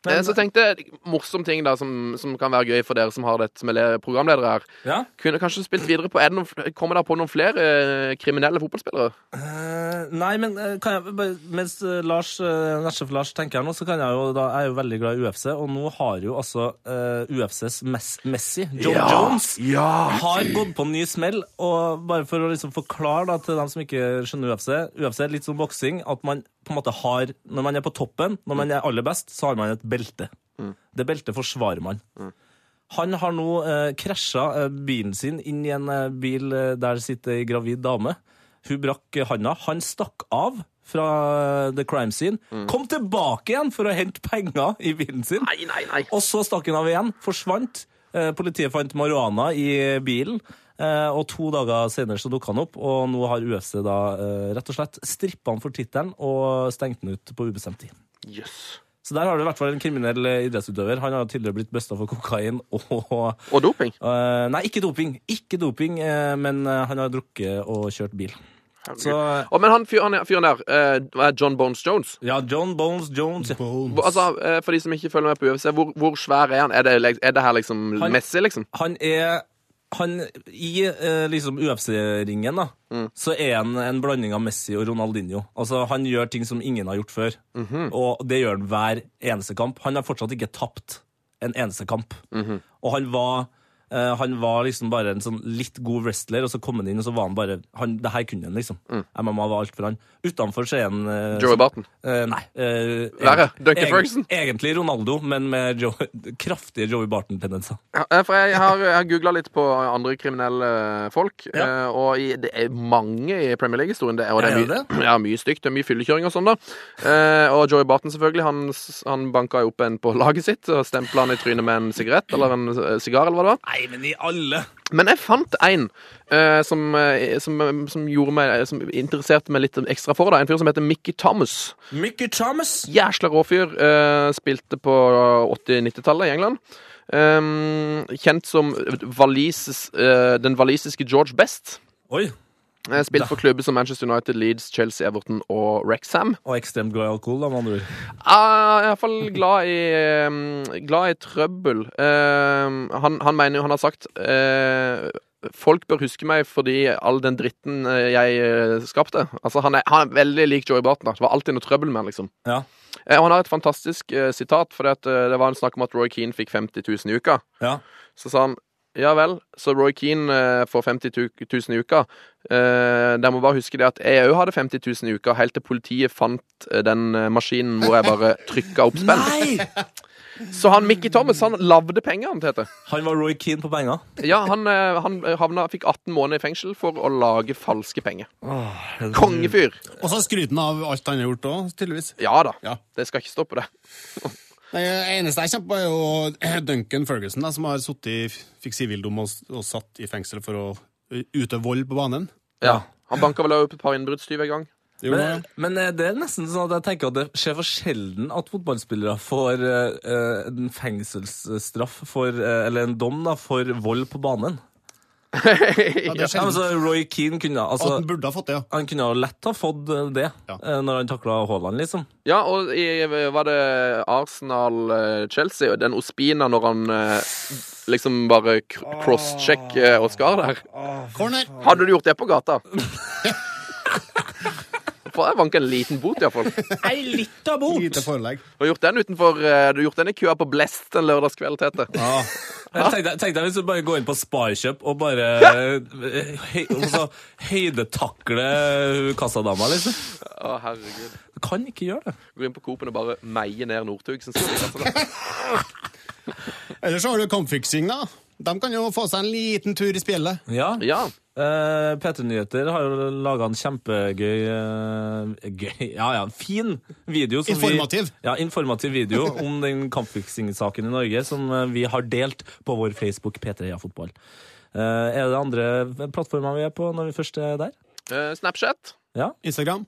F: Eh, så tenkte jeg morsom ting da, som, som kan være gøy for dere som har dette som er programledere her.
A: Ja.
F: Kunne kanskje spilt videre på er det noen, fl- Kommer der på noen flere eh, kriminelle fotballspillere?
A: Eh, nei, men eh, kan jeg, bare- mens eh, Lars, eh, Nesjef Lars tenker her nå, så kan jeg jo da, jeg er jo veldig glad i UFC, og nå har jo altså eh, UFCs Mes Messi, John Jones, har gått på en ny smell. Og bare for å liksom forklare da, til dem som ikke skjønner UFC UFC er litt som boksing. at man på en måte har, Når man er på toppen, når man er aller best, så har man et belte. Det beltet forsvarer man. Han har nå eh, krasja eh, bilen sin inn i en eh, bil eh, der sitter ei gravid dame. Hun brakk eh, handa. Han stakk av fra eh, the crime scene. Kom tilbake igjen for å hente penger i bilen sin.
F: Nei, nei, nei.
A: Og så stakk han av igjen, forsvant. Eh, Politiet fant marihuana i bilen. eh, Og to dager senere så dukka han opp, og nå har UFC da eh, rett og slett strippa han for tittelen og stengt han ut på ubestemt tid.
F: Jøss.
A: Så der har du i hvert fall en kriminell eh, idrettsutøver. Han har jo tidligere blitt busta for kokain og
F: Og doping.
A: eh, Nei, ikke doping, ikke doping, eh, men eh, han har drukket og kjørt bil. Så
F: Å, men han fyr- han fyren der, eh, hva er John Bones Jones
A: ja, John Bones Jones. ja.
E: Boom.
F: Hvor- Altså, eh, For de som ikke følger med på UFC, hvor, hvor svær er han? Er det, lik- er det her liksom
A: Han-
F: Messi, liksom?
A: han er han, I eh, liksom UFC-ringen da,
F: Mm.
A: så er han en blanding av Messi og Ronaldinho. Altså, Han gjør ting som ingen har gjort før,
F: Mhm.
A: og det gjør han hver eneste kamp. Han har fortsatt ikke tapt en eneste kamp.
F: Mhm.
A: Og han var, eh, han var liksom bare en sånn litt god wrestler, og så kom han inn, og så var han bare han, Det her kunne han, liksom.
F: Mm.
A: MMA var alt for han. Utenfor så er han eh,
F: Joey
A: så-
F: Barton.
A: Eh, nei. eh,
F: Verre.
A: egen-
F: Duncan
A: egen-
F: Ferguson.
A: Egentlig Ronaldo, men med jo, kraftige Joey Barton-tendenser.
F: Ja, eh, For jeg har, jeg har googla litt på andre kriminelle eh, folk,
A: Ja.
F: eh, og i, det er mange i Premier League-historien. Det, er- og det
A: Er
F: er mye,
A: det
F: ja, mye stygt, det er mye fyllekjøring og sånn, da. Eh, Og Joey Barton, selvfølgelig, han, s- han banka jo opp en på laget sitt og stempla han i trynet med en sigarett eller en eh, sigar, eller hva det var.
A: Nei, men i alle
F: Men jeg fant en eh, som, eh, som, eh, som gjorde meg Som interesserte meg litt ekstra for det. En fyr som heter Mickey Thomas.
A: Mickey Thomas.
F: Jæsla råfyr. eh, spilte på 80-90-tallet i England. Ehm, kjent som Valises, eh, den walisiske George Best.
A: Oi.
F: Eh, Spilt for klubber som Manchester United, Leeds, Chelsea, Everton og Rexham.
A: Og ekstremt glad i alkohol, da, med andre ord.
F: Ah, Jeg er iallfall glad i Eh, ehm, Glad i trøbbel. Ehm, han, han mener jo han har sagt eh, folk bør huske meg fordi all den dritten eh, jeg eh, skapte. Altså, han er, han er veldig lik Joey Barton. da. Det var alltid noe trøbbel med han, liksom.
A: Ja.
F: Eh, Og han har et fantastisk eh, sitat, for det, at, eh, det var en snakk om at Roy Keane fikk 50 000 i uka.
A: Ja.
F: Så sa han ja vel, så Roy Keane eh, får 50 000 i uka. Eh, Dere må bare huske det at jeg òg hadde 50 000 i uka, helt til politiet fant eh, den eh, maskinen hvor jeg bare trykka opp spenn.
A: Nei!
F: Så han Mickey Thomas han lavde penger, han heter.
A: Han var Roy Keane på penger.
F: Ja, han, eh, han havna, fikk 18 måneder i fengsel for å lage falske penger.
A: er det-
F: Kongefyr!
E: Og så skryten av alt han har gjort òg, tydeligvis.
F: Ja da.
E: Ja.
F: Det skal ikke stå på det.
E: Det eneste jeg kjenner på, er jo Duncan Ferguson, da, som har suttet i fikk sivildom og, og satt i fengsel for å utøve vold på banen.
F: Ja. Han banka vel også opp et par innbruddstyver en gang.
E: Det gjorde han,
A: Men, men eh, det er nesten sånn at jeg tenker at det skjer for sjelden at fotballspillere får eh, eh, en fengselsstraff for, eh, eller en dom da, for vold på banen.
E: ja, det er
A: Ja, men
F: altså-
E: sjelden
A: så Roy Keane kunne
E: at
A: altså,
E: han burde ha fått det, ja.
A: Han kunne jo lett ha fått eh, det
E: Ja.
A: eh, når han takla Haaland, liksom.
F: Ja, og i, var det Arsenal-Chelsea, den Ospina når han eh, liksom bare kr- cross-check Oscar der?
E: Corner!
F: Hadde du gjort det på gata? For jeg vanka en liten bot, iallfall.
A: Ei lita
E: Lite forelegg.
F: Du har gjort den utenfor eh, Du har gjort den i køa på Blest en lørdagskveld, Tete.
A: Tenk deg hvis du liksom bare går inn på Sparkjøp og bare eh, høy, altså, høydetakle kassadama, liksom.
F: Å, herregud.
A: Du kan ikke gjøre det.
F: Går inn på Coop-en og bare meier ned Northug. som sitter der, sånn.
E: Ellers så har du kampfiksing, da. De kan jo få seg en liten tur i spjeldet.
A: Ja.
F: Ja.
A: Eh, P3 Nyheter har jo laga en kjempegøy eh, gøy, Ja, ja, fin video. som
E: Informativ.
A: Vi, ja, informativ video om den kampfiksingssaken i Norge som eh, vi har delt på vår Facebook P3 Ja Fotball. Eh, er det andre plattformer vi er på når vi først er der?
F: Eh, Snapchat.
E: Instagram.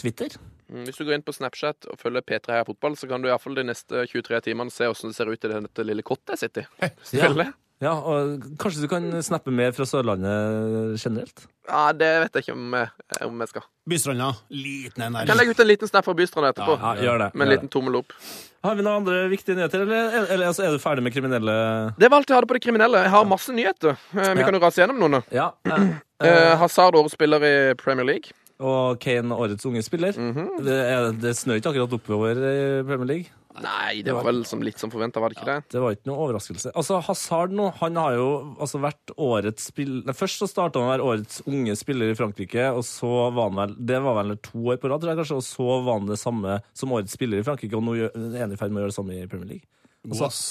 A: Twitter?
F: Mm, Hvis du går inn på Snapchat og følger P3 Heia Fotball, så kan du i hvert fall de neste 23 timene se åssen det ser ut i dette lille kottet jeg sitter i. Selvfølgelig.
A: Ja, og Kanskje du kan snappe mer fra Sørlandet generelt?
F: Ja, det vet jeg ikke om jeg, om jeg skal.
E: Bystranda. Liten en
F: Kan jeg
E: der.
F: legge ut en liten snap fra Bystrand etterpå?
A: Ja, gjør det.
F: Med en
A: gjør
F: liten tommel opp.
A: det. Har vi noen andre viktige nyheter, eller, eller, altså, er du ferdig med kriminelle
F: Det var alt jeg hadde på det kriminelle. Jeg har masse nyheter. Eh, Vi
A: Ja.
F: kan jo rase gjennom noen. da.
A: Ja. eh,
F: Eh, Hazard, årets spiller i Premier League.
A: og Kane, årets unge spiller. Det, er, det snør ikke akkurat oppover i Premier League.
F: Nei, det var vel som litt som forventa, var det ikke det?
A: Det var ikke noe overraskelse. Altså, Hazard nå, han har jo altså, vært årets spill... Nei, Først så starta han å være årets unge spiller i Frankrike, og så var han vel Det var vel to år på rad, tror jeg kanskje, og så var han det samme som årets spiller i Frankrike, og nå gjør- er han i ferd med å gjøre det samme i Premier League.
E: God, ass.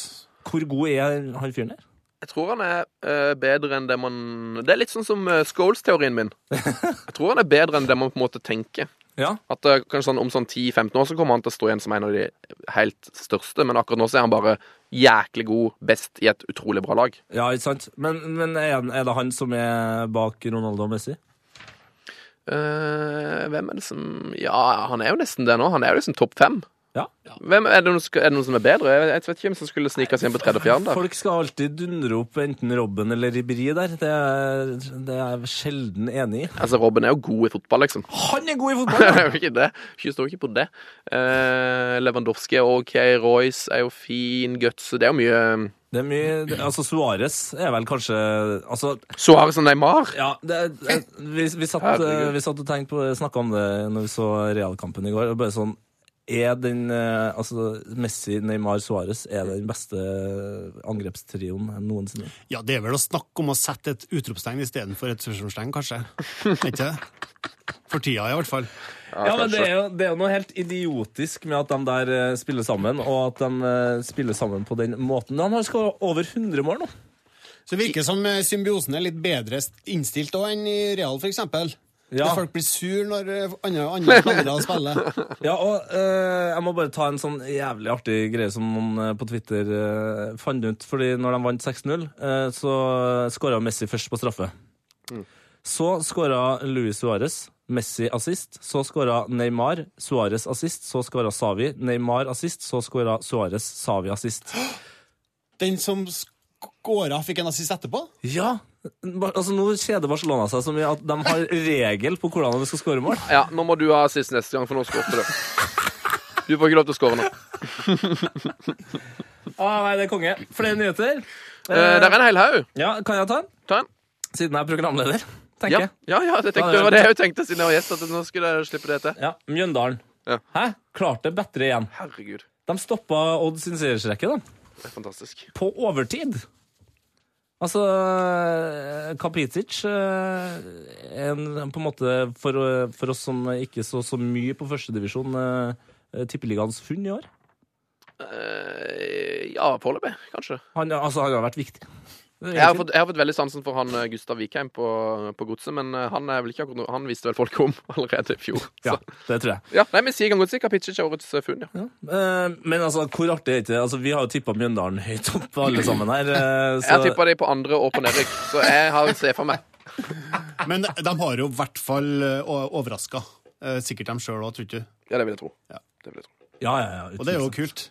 A: Hvor god er han fyren der?
F: Jeg tror han er eh, bedre enn det man Det er litt sånn som eh, Scholes-teorien min. Jeg tror han er bedre enn det man på en måte tenker.
A: Ja.
F: At eh, kanskje sånn, Om sånn 10-15 år så kommer han til å stå igjen som en av de helt største, men akkurat nå så er han bare jæklig god, best i et utrolig bra lag.
A: Ja, ikke sant? Men, men er, han- er det han som er bak Ronaldo og Messi?
F: Eh, hvem er det som Ja, han er jo nesten det nå. Han er jo liksom topp fem.
A: Ja.
F: Hvem, er, det noen, sk- er det noen som er bedre? Jeg, jeg vet ikke hvem som skulle snike seg inn på tredje og fjerde. der.
A: Folk skal alltid dundre opp enten Robben eller Ribéry der. Det er, det er jeg sjelden enig i.
F: Altså, Robben er jo god i fotball, liksom.
A: Han er god i
F: Det
A: fotball!
F: er jo ikke det. Ikke står ikke på det. Eh, Lewandowski er OK, Royce er jo fin, Gutse Det er jo mye um,
A: Det er mye, det- altså Suárez er vel kanskje altså,
F: Suárez og Neymar.
A: ja, det, er- det, vi, vi, satt,
F: Herregud.
A: eh, vi satt og tenkte på snakka om det når vi så realkampen i går. og Bare sånn Er den eh, altså Messi, Neymar, Suárez er det den beste angrepstrioen noensinne?
E: Ja, det er vel å snakke om å sette et utropstegn istedenfor et spørsmålstegn, kanskje. Er ikke det? For tida, i hvert fall.
A: Ja, men det er, jo, det er jo noe helt idiotisk med at de der eh, spiller sammen, og at de eh, spiller sammen på den måten. Han har skåret over 100 mål nå.
E: Så det virker som eh, symbiosen er litt bedre innstilt også enn i Real, for eksempel.
A: Ja.
E: Der Folk blir sur når eh, andre, andre spillere spiller.
A: Ja, og eh, jeg må bare ta en sånn jævlig artig greie som noen eh, på Twitter eh, fant ut. Fordi når de vant 6-0, eh, så skåra Messi først på straffe. Så skåra Luis Suárez. Messi assist, så skåra Neymar. Suárez assist, så skåra Savi. Neymar assist, så skåra Suárez. Savi assist.
E: Den som skåra, fikk en assist etterpå?
A: Ja! Bar- Altså, nå kjeder Barcelona seg så mye at de har regel på hvordan de skal skåre mål.
F: Ja, nå må du ha sist Eh, neste gang, for nå skåret du. Du får ikke lov til å skåre nå.
A: Ah, nei, det er konge. Flere nyheter?
F: Eh, der er en hel haug.
A: Ja, kan jeg ta den?
F: Ta den.
A: Siden jeg er programleder, tenker
F: Ja,
A: jeg.
F: ja, ja det, tenkte, det var det jeg tenkte siden jeg var gjest. At nå skulle jeg slippe det til.
A: Ja, Mjøndalen.
F: Ja.
A: Hæ? Klarte bedre igjen.
F: Herregud,
A: De stoppa Odd sin seiersrekke, da.
F: det er fantastisk.
A: på overtid. Altså, Kapitic eh, en, på en måte for, eh, for oss som ikke så så mye på førstedivisjon, tippeligaens funn i år.
F: Eh, ja, foreløpig, kanskje.
A: Han, altså, han har vært viktig. Det er
F: Jeg har,
A: ikke-
F: fått, jeg har fått veldig sansen for han eh, Gustav Vikheim på, på Godset, men eh, han, er vel ikke akkurat, noe- han visste vel folk om allerede i fjor.
A: Ja,
F: Så.
A: det tror jeg.
F: Ja, nei, men sier kan godt si Kapitsic er årets eh, funn, ja.
A: Eh, men altså, hvor artig er ikke det? Altså, vi har jo tippa Mjøndalen høyt opp, alle sammen her. eh,
F: Jeg har
A: så
F: tippa de på andre og på nedrykk, så jeg har ser for meg.
E: Men de har jo i hvert fall eh, overraska. Eh, Sikkert dem sjøl òg, tror ikke du.
F: Ja, det vil jeg tro.
E: Ja.
F: Det vil jeg tro.
A: ja, ja, ja,
E: Og det er jo kult.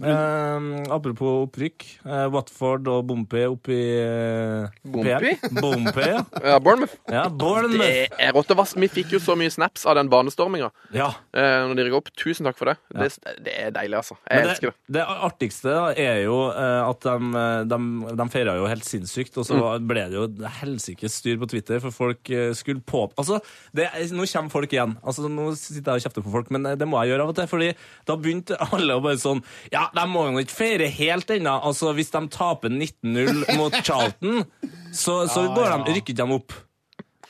A: Eh, apropos opprykk. eh, Watford og Bompe opp i eh,
F: Bompi?
A: PM. Bompe, ja.
F: Ja, Bournemouth.
A: ja Bournemouth.
F: Det er rått. Det var- Vi fikk jo så mye snaps av den banestorminga
A: Ja.
F: eh, når de rykket opp. Tusen takk for det. Det, det er deilig, altså. Jeg
A: Men
F: elsker det.
A: Det artigste da, er jo eh, at de, eh, de, de feira jo helt sinnssykt, og så ble det jo et helsikes styr på Twitter, for folk eh, skulle på Altså, det, er- nå kommer folk igjen. Altså, nå sitter jeg og kjefter på folk, men eh, det må jeg gjøre av og til, fordi da begynte alle å bare sånn Ja, de må jo ikke feire helt ennå. Altså, hvis de taper 19-0 mot Charlton, så, så går de, rykker ikke de opp.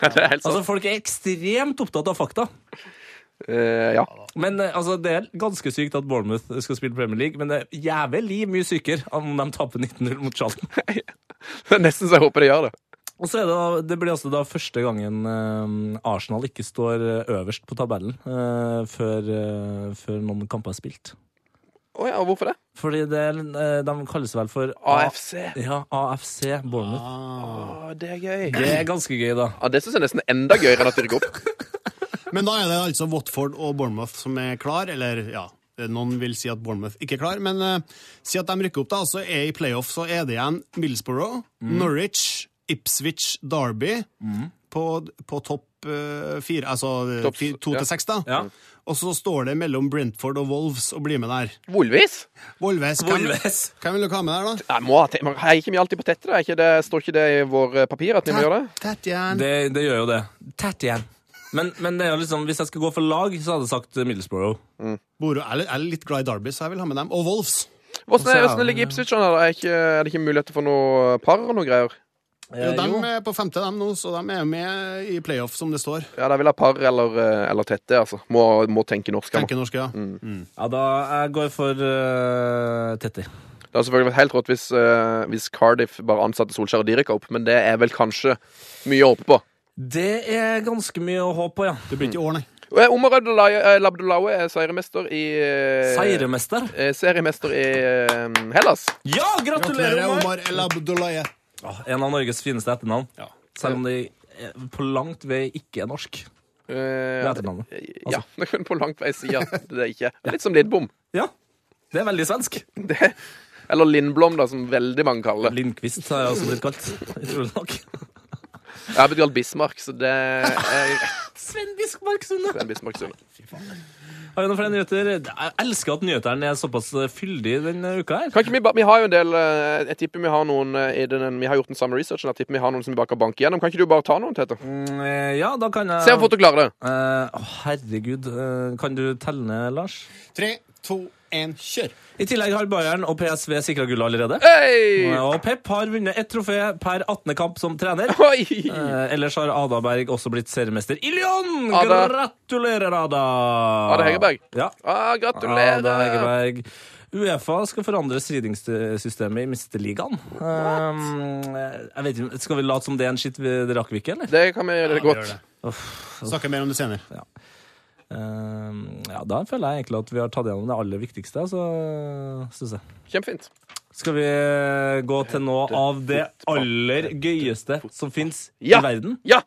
F: Det er helt sant.
A: Altså, folk er ekstremt opptatt av fakta.
F: Eh, ja.
A: Men eh, altså, Det er ganske sykt at Bournemouth skal spille Premier League, men det er jævlig mye sykere om de taper 19-0 mot Charlton.
F: Det er Nesten så jeg håper de gjør det.
A: Og så er Det da, det blir altså da første gangen eh, Arsenal ikke står eh, øverst på tabellen eh, før, eh, før noen kamper er spilt.
F: Å ja, hvorfor det?
A: Fordi det, er, eh, De kalles vel for A-
F: AFC.
A: Ja, AFC
F: Ah.
A: Bournemouth.
F: Å, det er gøy.
A: Det er ganske gøy, da.
F: Ja, det syns jeg nesten er enda gøyere enn at de rykker opp.
E: Men da er det altså Watford og Bournemouth som er klar, eller ja, noen vil si at Bournemouth ikke er klar, men eh, si at de rykker opp da, så er i playoff så er det igjen Middlesbrough, Norwich, Ipswich, Derby på, på topp eh, fire, altså eh,
F: Topp-
E: fi- to
F: ja.
E: til seks da.
A: Ja.
E: Og så står det mellom Brentford og Wolves og blir med der.
F: Volvis?
E: Wolves, hvem, hvem vil du ha med der da?
F: Jeg må ha te- men jeg gikk ikke alltid på tette. det. Er ikke det, står ikke det i våre papirer at vi må gjøre det?
E: Tatjan.
A: Det, det gjør jo det. Tett igjen. Men, men det er jo liksom, hvis jeg skal gå for lag, så hadde jeg sagt Middlesbrough.
E: Boro, jeg er litt- jeg er litt glad i Derby, så jeg vil ha med dem. Og Wolves.
F: Hvordan,
A: Og så er
F: er, hvordan ligger Ipswich an? her, da? Er, ikke- er det ikke muligheter for noe par og noe greier?
E: Jo, de er på femte dem nå, så de er med i playoff som det står.
F: Ja, de vil ha par eller, eh, eller tette, altså. Må, må tenke norsk. her nå.
E: Tenker norske, ja.
A: Ja, da jeg går for uh, Tetti.
F: Det hadde selvfølgelig vært helt rått hvis, eh, hvis Cardiff bare ansatte Solskjær og de rykka opp, men det er vel kanskje mye å håpe på.
A: Det er ganske mye å håpe på, ja.
E: Det blir ikke i år, nei.
F: Eh, Omar Abdullahi- eh, Labdullahi er seiermester i eh,
A: Seiremester.
F: eh, Seriemester i eh, Hellas.
A: Ja, gratulerer!
E: Gratulerer,
A: Omar!
E: Omar El Abdullaye.
A: Ah, En av Norges fineste etternavn.
E: Ja.
A: Selv om de eh, på langt vei ikke er norsk.
F: Eh,
A: Det er etternavnet.
F: Ja, det kan på langt vei si at det er ikke Litt som Lindbom.
A: Ja, det er veldig svensk.
F: Det, eller Lindblom, da, som veldig mange kaller det.
A: Lindqvist har jeg også blitt kalt. Utrolig nok.
F: Jeg har blitt kalt Bismarck, så det er
A: Sven Biskmark Sunde.
F: en Bismarck-sone.
A: Har vi noen flere nyheter? Jeg elsker at nyhetene er såpass fyldige denne uka her.
F: Kan ikke vi, ba- vi har jo en del eh, Jeg tipper vi har noen eh, i den, Vi har gjort den samme researchen. Jeg tipper vi har noen som vi bare kan banke gjennom. Kan ikke du bare ta noen, Tete?
A: Mm, eh, Ja, da kan jeg
F: Se hvor fort du klarer det.
A: Eh, å, herregud. Eh, kan du telle ned, Lars?
E: Tre, to, én, kjør!
A: I tillegg har Bayern og PSV sikra gullet allerede.
F: Hei!
A: Og Pep har vunnet ett trofé per 18. kamp som trener.
F: Oi!
A: Eh, ellers har Ada Berg også blitt seriemester i Lyon!
F: Ada.
A: Gratulerer, Ada!
F: Ada Hegerberg.
A: Ja.
F: Ah,
A: Ada
F: gratulerer.
A: Hegerberg. Uefa skal forandre stridingssystemet i Mesterligaen. Um, jeg vet ikke, Skal vi late som det er en skitt vi det rakk vi ikke, eller?
F: Det kan vi gjøre godt.
E: Snakker mer om det senere.
A: Um, ja, Da føler jeg egentlig at vi har tatt gjennom det aller viktigste, så synes jeg.
F: Kjempefint.
A: Skal vi gå til noe av det aller gøyeste som fins i
F: Ja.
A: verden?
F: Ja!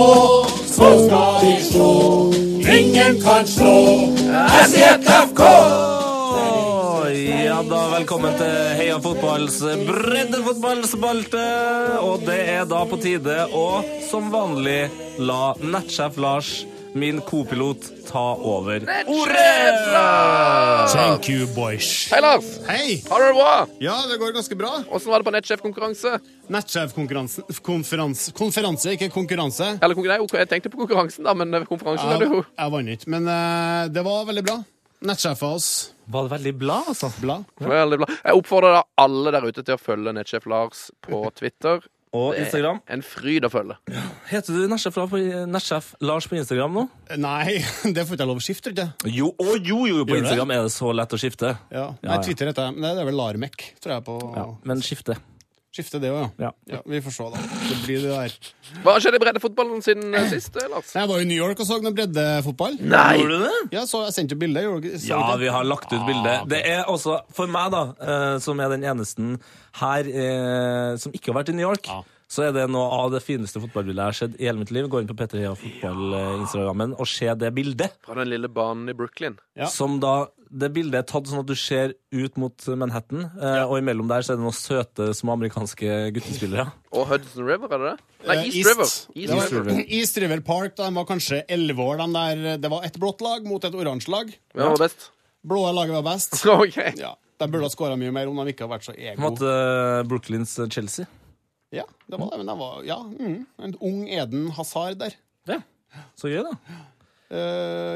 A: Å, ja da,
D: velkommen til Heia fotballs breddefotballspalte. Og det er da på tide å, som vanlig, la nettsjef Lars, min kopilot, ta over ordet!
E: Thank you, boys.
F: Hei, Lars!
E: Hei!
F: Har du det bra?
E: Ja, det går ganske bra.
F: Åssen var det på nettsjefkonkurranse?
E: Nettsjefkonkurranse konferanse, konferanse, ikke konkurranse.
F: Eller konkurran- nei, ok, jeg tenkte på konkurransen, da, men eh, konferansen er det
E: Jeg,
F: jo
E: jeg vant ikke, men eh, det var veldig bra. Nettsjefa oss.
D: Var det veldig blad, altså?
E: Bla.
F: Veldig bra. Jeg oppfordrer da alle der ute til å følge nettsjef Lars på Twitter.
D: Og
F: Det er
D: Instagram.
F: En fryd å følge.
D: Eh, Heter du nettsjef, Lars på- nettsjef Lars på Instagram nå?
E: Nei, det får ikke jeg lov å skifte, tror jeg.
D: Jo, å, jo, jo, på
E: Gjør det?
D: Instagram er det så lett å skifte.
E: Ja.
D: Ja,
E: Nei,
D: ja.
E: Twitter heter jeg. Men det- det er vel Larmek, tror jeg, på
D: Men skifte.
E: skifte det òg,
D: Ja.
E: ja. ja. Vi får se, da. Det blir det der.
F: Hva har skjedd i breddefotballen siden eh, sist, eh, Lars?
E: Jeg var i New York og så noe breddefotball.
D: Gjorde du det?
E: Ja, så jeg sendte jo bilde. gjorde dere- så
D: Ja,
E: dere det?
D: vi har lagt ut bilde.
E: Ah,
D: Det er også, for meg da, eh, som er den eneste her eh, som ikke har vært i New York, så er det noe av det fineste fotballbildet jeg har sett i hele mitt liv. Gå inn på Petter Heia Fotball-instagrammen eh, og se det bildet.
F: Fra den lille banen i Brooklyn.
E: Ja.
D: Som da, det bildet er tatt sånn at du ser ut mot Manhattan, eh, og imellom der så er det noen søte små amerikanske guttespillere.
F: Og Hudson River, er det det? Nei,
E: Eh,
F: East,
E: East.
F: River.
E: Det
F: East
E: var-
F: River.
E: East River Park, da de var kanskje 11 år. De der, eh, det var et blått lag mot et oransje lag.
F: Hvem var best?
E: Blåe laget var best.
F: OK.
E: Ja, De burde ha skåra mye mer om de ikke hadde vært så
D: På en
E: ego.
D: måte eh, Brooklyns Chelsea.
E: Ja, det var det, men de var, ja, mm, En ung Eden Hazard der.
D: Ja, så gøy da.
E: Eh,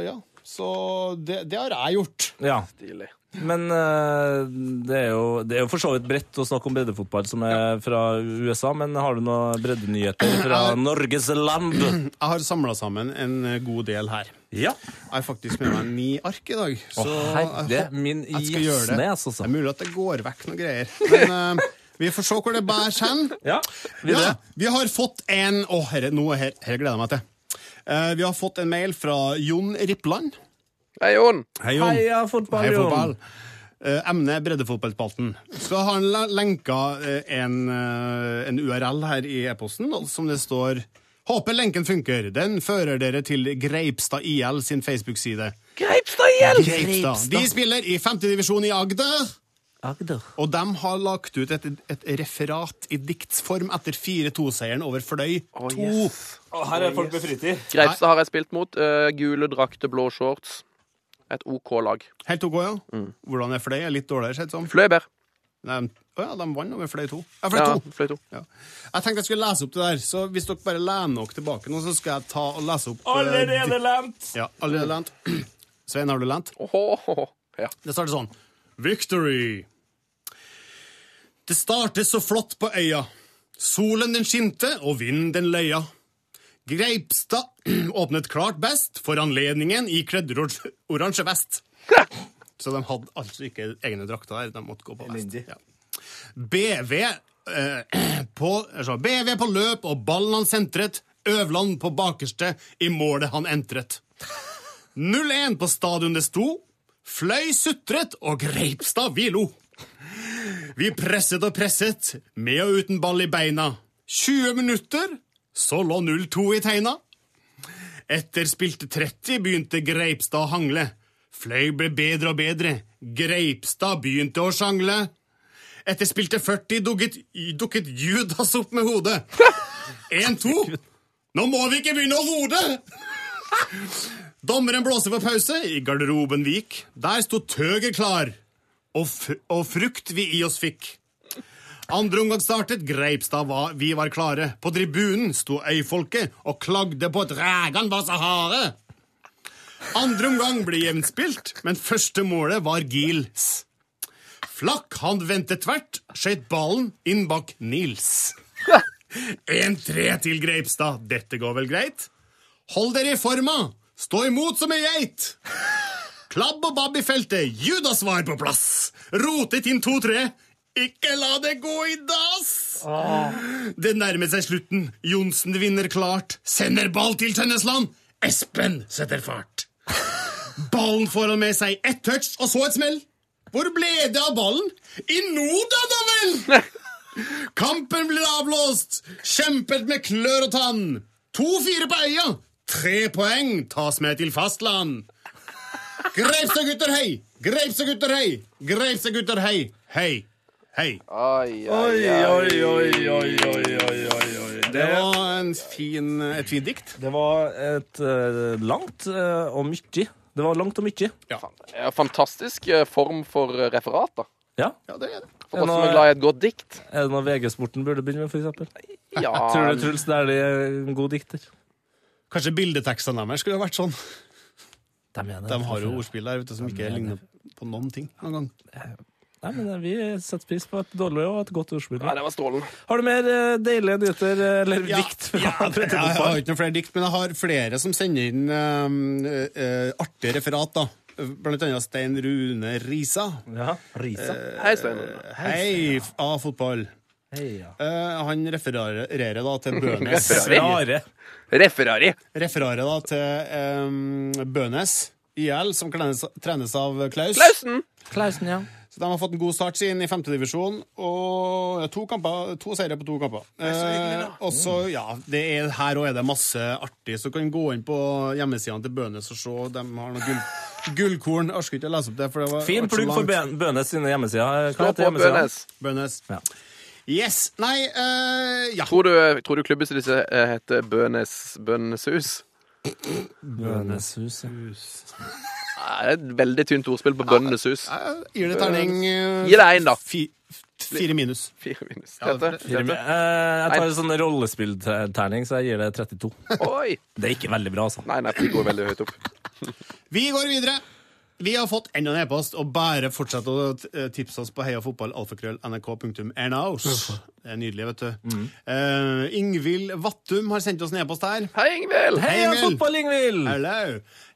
E: ja, Så det, det har jeg gjort.
D: Ja,
F: Stilig.
D: Men eh, det, er jo, det er jo for så vidt bredt å snakke om breddefotball som er fra USA, men har du noen breddenyheter fra Norges land?
E: Jeg har samla sammen en eh, god del her.
D: Ja.
E: Jeg har faktisk med meg ni ark i dag. Så
D: Herre eh, min
E: jeg skal gjøre det.
D: jøssnes,
E: Det
D: altså.
E: er mulig at det går vekk noen greier. Men eh, vi får se hvor det bærer hen. Ja,
D: Ja, videre.
E: vi har fått en Å, herre, nå her, her gleder jeg meg til. Eh, vi har fått en mail fra Jon Rippland.
F: Hei, Jon.
E: Hei,
D: Heia fotball,
E: Hei, fotball.
D: Jon!
E: Eh, emnet breddefotballspalten. Så har han le- lenka eh, en, eh, en URL her i e-posten og som det står Håper lenken funker. Den fører dere til Greipstad IL sin Facebook-side.
F: Greipstad igjen!
E: Greipstad. De spiller i femtedivisjon i Agder.
D: Agder.
E: Og de har lagt ut et, et referat i diktsform etter 4-2-seieren over Fløy 2.
D: her er folk med fritid.
F: Greipstad har jeg spilt mot. eh, gule drakter, blå shorts. Et OK lag.
E: Helt OK, ja. Hvordan er Fløy? Er Litt dårligere, sett som.
F: Fløyberg.
E: Nei, Å ja, de vant over Fløy 2. Ja, Fløy
F: Ja,
E: 2.
F: Fløy to.
E: Ja. Jeg tenkte jeg skulle lese opp det der, så hvis dere bare lener dere tilbake nå, så skal jeg ta og lese opp eh,
D: Allerede
E: dikt-
D: lent!
E: Ja, allerede lent. Svein, har du lent?
F: Åhåhå. Ja.
E: Det starter sånn. Victory! Det starter så flott på øya. Solen den skinte, og vinden den løya. Greipstad åpnet klart best, for anledningen ikledd or- oransje vest. Så de hadde altså ikke egne drakter der, de måtte gå på vest. Ja. BV, eh, på, altså, BV på løp, og ballen han sentret. Øvland på bakerste, i målet han entret. 0-1 på stadion det sto. Fløy sutret, og Greipstad vi lo. Vi presset og presset, med og uten ball i beina. 20 minutter, så lå 0-2 i tegna. Etter spilte 30 begynte Greipstad å hangle. Fløy ble bedre og bedre. Greipstad begynte å sjangle. Etter spilte 40 dukket, dukket Judas opp med hodet. 1-2. Nå må vi ikke begynne å hode! Dommeren blåser for pause i garderoben vi gikk. Der sto tøget klar, og, fr og frukt vi i oss fikk. Andre omgang startet, Greipstad var, vi var klare. På tribunen sto øyfolket og klagde på at rægan var så harde. Andre omgang ble jevnt spilt, men første målet var Gils. Flakk, han vendte tvert, skjøt ballen inn bak Nils. 1-3 til Greipstad. Dette går vel greit? Hold dere i forma! Stå imot som ei geit! Klabb og babb i feltet. Judas var på plass. Rotet inn 2-3. Ikke la det gå i dass! Det nærmer seg slutten. Johnsen vinner klart. Sender ball til Tønnesland. Espen setter fart. Ballen får han med seg. Ett touch, og så et smell. Hvor ble det av ballen? I Noda, da vel! Kampen blir avblåst! Kjempet med klør og tann! 2-4 på øya! Tre poeng tas med til fastland! Greipstad gutter, hei! Greipstad gutter, hei! Greipstad gutter, hei! Hei! Hei.
F: Ai, ai,
H: Oi,
F: ai.
H: oi, oi, oi, oi, oi, oi, oi.
E: Det
H: Det,
E: var en fin, et fint dikt.
D: Det var et eh, langt eh, og mye. Det var langt og mye.
F: Ja, Fantastisk eh, form for eh, referat, da.
D: Ja.
E: Ja, det er det.
F: For oss
D: Nå
F: som
D: er-
F: er glad i et godt dikt.
D: Er det noe VG-sporten burde begynne med, for eksempel?
F: Ja,
D: Tror du Truls Dæhlie er en god dikter?
E: Kanskje bildetekstene deres skulle ha vært sånn.
D: De, er det.
E: De har jo ordspill der vet du, som ikke ligner på noen ting. Noen gang.
D: Nei, men eh, vi setter pris på et dårlig og et godt ordspill.
F: Nei, det var strålende.
D: Har du mer eh, deilige nyheter eh, eller
E: Ja.
D: dikt?
E: Ja, jeg har ikke noen flere dikt, men jeg har flere som sender inn um, eh, artige referat. da. Blant annet Stein Rune Risa.
D: Ja. Risa.
E: Eh,
F: Hei, Stein.
E: Hei, f- av fotball. Eh, han refererer da til Bønes.
D: Rare.
F: Referari.
E: refererer da til um, Bønes IL, som klenes, trenes av Klaus.
F: Klausen!
D: Klausen, ja.
E: Så De har fått en god start siden i femtedivisjon. To, kamper- to seire på to kamper. Eh, og så, ja, det er, Her òg er det masse artig. Så du kan gå inn på hjemmesidene til Bønes og se. De har noe gull, gullkorn. Jeg orker ikke å lese opp det. for det var
D: Fin
E: det var så
D: plugg for
E: langt.
D: Bø- Bønes sine hjemmesider. Hva
F: Gå
D: heter
F: på
D: hjemmesiden?
F: Bønes.
E: Bønes.
D: Ja.
E: Yes. Nei, eh, ja.
F: Tror du, tror du klubben som disse eh, heter Bønes Bøneshus?
D: Bøneshus. ja.
F: Nei, det er et veldig tynt ordspill på Bøneshus.
E: Jeg Gir det terning eh,
F: Gi det en, da.
E: Fi, fire minus.
F: Fire minus.
E: Ja,
F: Dette,
E: det-
D: Eh,
F: dette.
D: Jeg tar en sånn rollespillterning, så jeg gir det 32.
F: Oi!
D: Det er ikke veldig bra, altså.
F: Nei, nei, for de går veldig høyt opp.
E: Vi går videre. Vi har fått enda en e-post, og bare fortsett å eh, tipse oss på heiafotballalfakrøll.nrk.no. Det er nydelig, vet du. Eh, Ingvild Vattum har sendt oss en e-post her.
F: Hei, Ingvild!
D: Heia
E: Ingvild!
D: fotball, Ingvild!
E: Hello.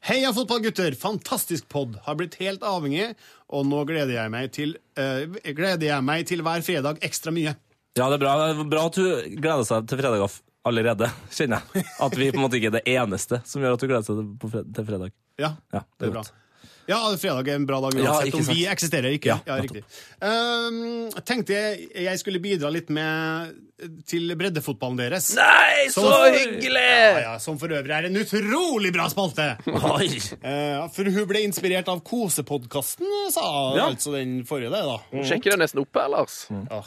E: Heia fotballgutter! Fantastisk pod. Har blitt helt avhengig, og nå gleder jeg meg til, eh, gleder jeg meg til hver fredag ekstra mye.
D: Ja, det er bra. Det er bra at du gleder seg til fredag av- allerede, kjenner jeg. At vi på en måte ikke er det eneste som gjør at du gleder deg til- på fred- til fredag.
E: Ja,
D: Ja,
E: det er bra.
D: godt.
E: Ja, fredag er en bra dag
D: Ja,
E: uansett
D: ikke
E: om vi
D: sant.
E: eksisterer ikke.
D: Ja,
E: Ja, riktig. Ehm, tenkte jeg jeg skulle bidra litt med til breddefotballen deres.
F: Nei, så
E: Som-
F: hyggelig!
E: Ja, ja, som for øvrig er en utrolig bra spalte!
D: Oi!
E: Eh, for hun ble inspirert av Kosepodkasten, sa
D: Ja.
E: altså den forrige der, da.
D: Mm.
F: Sjekker det nesten opp her, Lars.
E: Ah,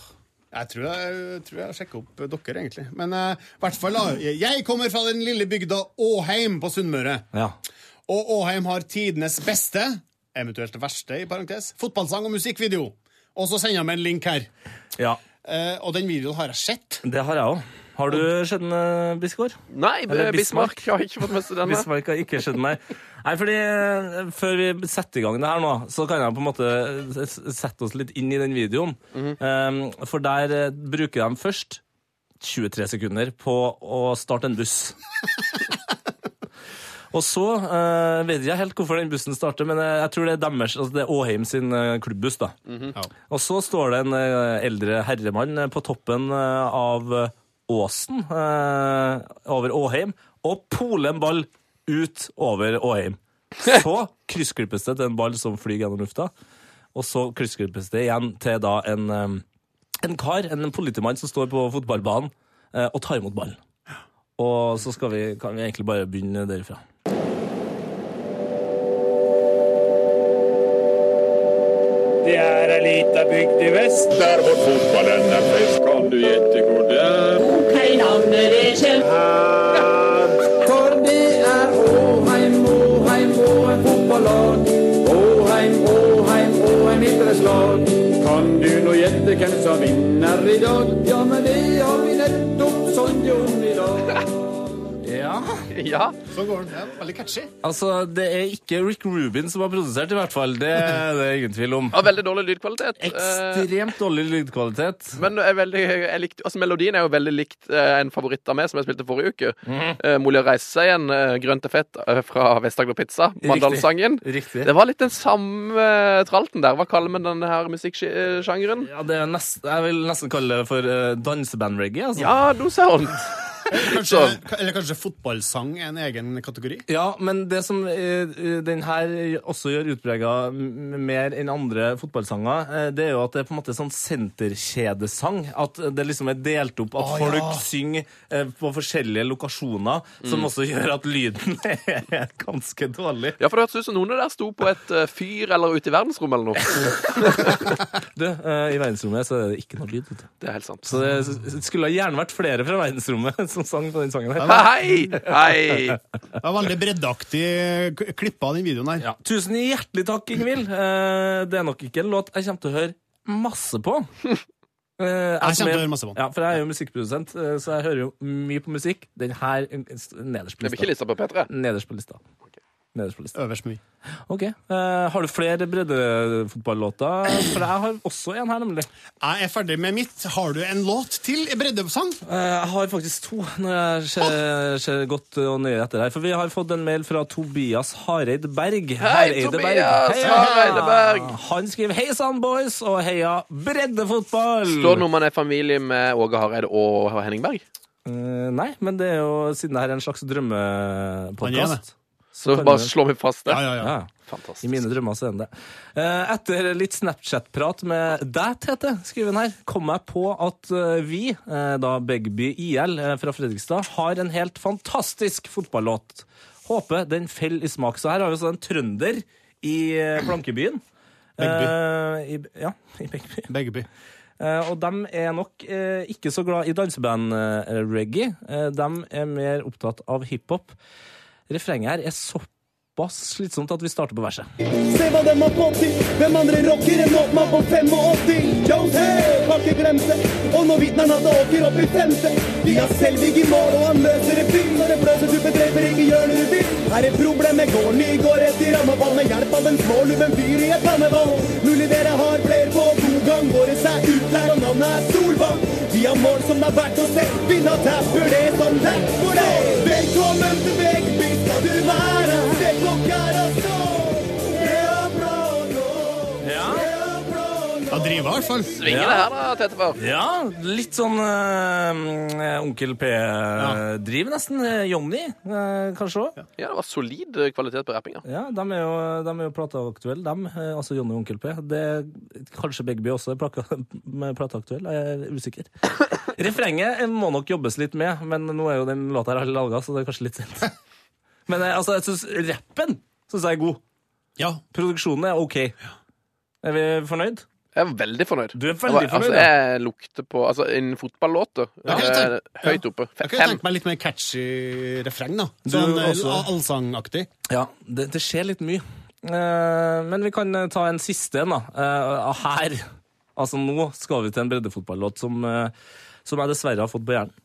E: Jeg tror jeg, jeg tror jeg sjekker opp dere, egentlig. Men eh, i hvert fall, da. Jeg kommer fra den lille bygda Åheim på Sunnmøre.
D: Ja.
E: Og Åheim har tidenes beste, eventuelt verste, i parentes, fotballsang og musikkvideo. Og så sender jeg meg en link her.
D: ja.
E: Eh, og den videoen har jeg sett.
D: Det har jeg òg. Har du sett den, eh, Bisgaard?
F: Nei,
D: Eller
F: Bismarck har ikke fått med seg denne.
D: Bismarck har ikke skjedd meg. Nei, fordi eh, Før vi setter i gang det her nå, så kan jeg på en måte eh, s- sette oss litt inn i den videoen. um, for der eh, bruker de først 23 sekunder på å starte en buss. Og så eh, vet jeg ikke helt hvorfor den bussen starter, men eh, jeg tror det er deres, altså det er Åheim sin eh, klubbbuss. da. Og så står det en eh, eldre herremann eh, på toppen eh, av eh, åsen eh, over Åheim og poler en ball ut over Åheim. Så kryssklippes det til en ball som flyr gjennom lufta, og så kryssklippes det igjen til da en, eh, en kar, en politimann, som står på fotballbanen eh, og tar imot ballen. Og så skal vi, kan vi egentlig bare begynne derifra.
I: Det er ei lita bygd i vest. Der hvor fotballen er best, kan du gjette hvor det er.
J: For det er Åheim, Åheim, Åheim fotballag. Åheim, Åheim, Åheim idrettslag.
I: Kan du nå gjette hvem som vinner i dag?
J: Ja, men det har vi nettopp sånn gjort i dag.
F: Ja,
E: Sånn går den. Ja, veldig catchy.
D: Altså, det er ikke Rick Rubin som har produsert, i hvert fall. Det, det er ingen tvil om.
F: og Veldig dårlig lydkvalitet. Eh,
D: Ekstremt dårlig lydkvalitet.
F: Men jeg er veldig, jeg likte, altså melodien er jo veldig likt eh, en favoritt av meg som jeg spilte forrige uke. Eh, Mulig å reise seg igjen, eh, grønt og fett eh, fra Vest-Agder Pizza, Mandalsangen.
D: Riktig.
F: Det var litt den samme eh, tralten der. Hva kaller man denne her musikksjangeren?
D: Ja, det er nest, jeg vil nesten kalle det for uh, danseband-reggae. Altså.
F: Ja, no sound.
E: Kanskje, eller kanskje fotballsang er en egen egen kategori?
A: Ja, men det som eh, den her også gjør utprega m- mer enn andre fotballsanger, eh, det er jo at det er på en måte sånn senterkjedesang. At det liksom er delt opp, at folk synger eh, på forskjellige lokasjoner, som også gjør at lyden er ganske dårlig.
F: Ja, for det hørtes ut som noen av dere sto på et eh, fyr eller ute i verdensrommet eller noe.
A: Du, eh, i verdensrommet så er det ikke noe lyd. Vet du.
F: Det er helt sant.
A: Så det s- s- skulle gjerne vært flere fra verdensrommet som sang på den sangen her.
F: Hei! Hei!
E: Det var veldig breddaktig k- klipp av den videoen her.
A: Ja. Tusen hjertelig takk, Ingvild. Eh, det er nok ikke en låt jeg kommer til å høre masse på. Eh, jeg som
E: kommer til å
A: er-
E: høre masse på den.
A: Ja, for jeg er jo musikkprodusent, eh, så jeg hører jo mye på musikk. Den her eh, st- nederst på
F: Det blir ikke
A: lista.
F: lista på P3.
A: Nederst på lista. Nederst på lista.
E: Øverst med vi.
A: Ok. Eh, har du flere breddefotballåter? For jeg har også en her, nemlig.
E: Jeg er ferdig med mitt. Har du en låt til i breddesang?
A: Eh, Jeg har faktisk to, når jeg ser, ser godt og nøye etter her. For vi har fått en mail fra Tobias Hareid Berg. Hareide
F: Tobias
A: Heia!
F: Hareide Berg!
A: Han skriver 'Hei sann, boys', og 'Heia breddefotball'.
F: Står det noe om han er familie med Åge Hareide og Henning Berg?
A: Eh, nei, men det er jo siden det her er en slags
E: Han er det.
A: drømmepodkast.
F: Så bare slå meg fast det.
E: Ja, ja, ja.
A: Ja. I
F: Fantastisk.
A: mine drømmer så er den det. Eh, Etter litt Snapchat-prat med deg, Tete, skriver hun her, kom jeg på at eh, vi, eh, da Begby IL eh, fra Fredrikstad, har en helt fantastisk fotballåt. Håper den faller i smak. Så her har vi også en trønder i eh, plankebyen. Eh, i, ja, i Begby.
E: Begby.
A: Eh, og de er nok eh, ikke så glad i eh, danseband-reggae. de er mer opptatt av hiphop. Refrenget her er såpass slitsomt at vi starter på verset.
J: Se hva dem har fått til. Hvem andre rocker enn opp mann på 85? Jones Hell har ikke glemt det. Og nå vitner han at det åker opp i femte. Vi har Selvig i mål, og han løser en film. Når det blåser, du bedrever ikke gjør det du vil. Her er problemet, går ny, går rett i rammeball. Med hjelp av en småluven fyr i et panneball. Mulig dere har fler på to gang. Våre er utlært, og navnet er Solvang. Vi har mål som det er verdt å se. Vinna tapper det som tapp for det. Velkommen til Vegby, skal du være. Se klokka er altså av
E: Ja, driver i hvert fall.
F: Svinger det her da, Tetteberg?
A: Ja, litt sånn eh, Onkel P-driv, nesten. Eh, Johnny, eh, kanskje òg.
F: Ja, det var solid eh, kvalitet på rappinga.
A: Ja, de er jo, de er jo plateaktuelle, dem. eh, Altså Johnny og Onkel P. Det, kanskje Begby også er plaka- med plateaktuell, jeg er usikker. Refrenget eh, må nok jobbes litt med, men nå er jo den låta her laga, så det er kanskje litt sent. Men eh, altså, jeg syns rappen synes jeg er god.
E: Ja.
A: Produksjonen er OK. Er vi fornøyd?
F: Jeg er veldig fornøyd.
A: Du er veldig
F: Altså,
A: fornøyd, ja.
F: jeg lukter på Altså, en fotballåt.
E: Ja, jeg
F: eh,
E: tenker-
F: Høyt oppe.
E: Jeg kunne
F: Fem.
E: tenkt meg litt mer catchy refreng, da.
A: Du
E: Sånn eh,
A: også.
E: allsangaktig.
A: Ja, det, det skjer litt mye. Eh, men vi kan eh, ta en siste en, da. Eh, og her. Altså, nå skal vi til en breddefotballåt som, eh, som jeg dessverre har fått på hjernen.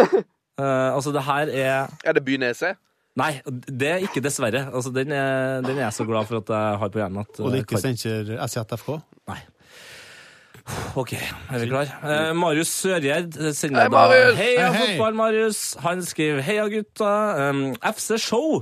A: Eh, altså, det her er
F: Er det By Nese?
A: Nei, det er ikke dessverre. Altså, den er, den er jeg så glad for at jeg har på hjernen at
E: Og det
A: jeg
E: ikke eh,
A: kan-
E: senker SJFK.
A: Nei. OK, er vi klar? Eh, Marius Sørgjerd sender
F: Hei, Marius!
A: Heia
E: Hei, hei.
A: fotball, Marius! Han skriver Heia gutta! Um, FC Show,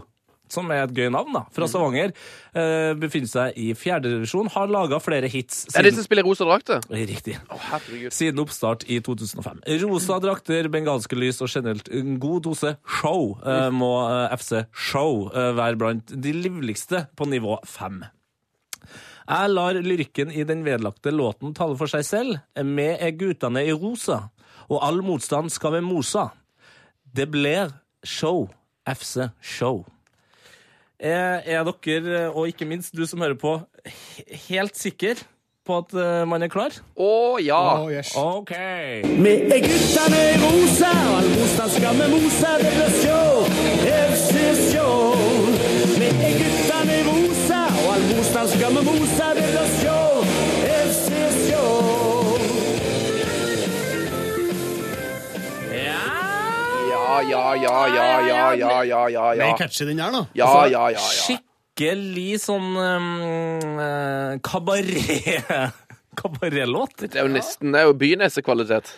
A: som er et gøy navn, da,
F: Mm.
A: fra Stavanger, eh, befinner seg i fjerdedivisjon, har laga flere hits
F: Er det de
A: siden
F: som spiller rosa drakt? det?
A: Riktig.
F: Å, herregud.
A: Siden oppstart i 2005. Rosa drakter, bengalske lys og generelt en god dose show eh, må eh, FC Show eh, være blant de livligste på nivå fem. Jeg lar lyrikken i den vedlagte låten tale for seg selv. Med er guttene i rosa, og all motstand skal vi mosa. Det blir show. FC Show. Er, er dere, eh, og ikke minst du som hører på, he- helt sikker på at eh, man er klar?
F: Å ja.
A: OK.
J: Vi er guttene i rosa, all motstand skal vi mose. Det blir show, FC show. Vi er guttene i rosa, og all motstand skal vi mose. Det blir show, FC show.
F: Ja, ja, ja, ja, ja, ja, ja, ja.
E: Mer
F: Ja,
E: catchy den der, da.
F: ja,
A: Altså,
F: ja. ja, ja.
A: Skikkelig sånn um, eh, kabaret... Kabaretlåt?
F: Det er jo nesten Det er jo By Nese-kvalitet.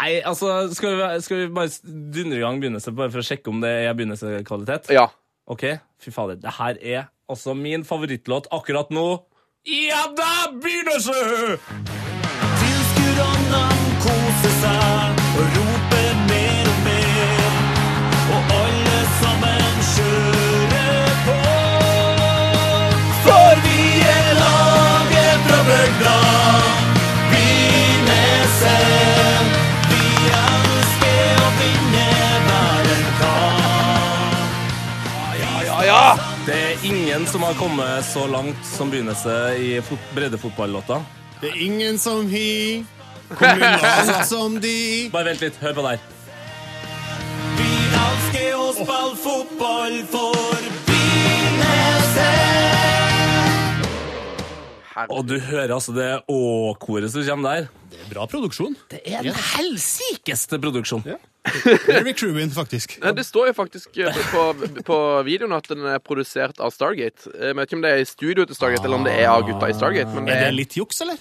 A: Nei, altså, skal vi, skal vi bare dundre i gang begynnelse, bare for å sjekke om det er begynnelsekvalitet?
F: Ja.
A: OK, fy fader. Det her er altså min favorittlåt akkurat nå. Ja da, begynnelse!
J: Tilskuerne koser seg og roper mer og mer. Og alle sammen
D: ingen som har kommet så langt som begynnelsen i fot- breddefotballåta.
E: Det er ingen som hi, kommer langt som de.
D: Bare vent litt. Hør på der.
J: Vi elsker å spille fotball for
D: Og du hører altså det å-koret som kommer der.
E: Det er bra produksjon.
D: Det er den helsikeste produksjon.
E: Jerry Crewin, faktisk.
F: Nei, Det står jo faktisk eh, på, på- på videoen at den er produsert av Stargate. Eh, Jeg vet ikke om det er i studio til Stargate, eller om det er av gutta i Stargate. Men det
E: Er det
F: er,
E: litt juks, eller?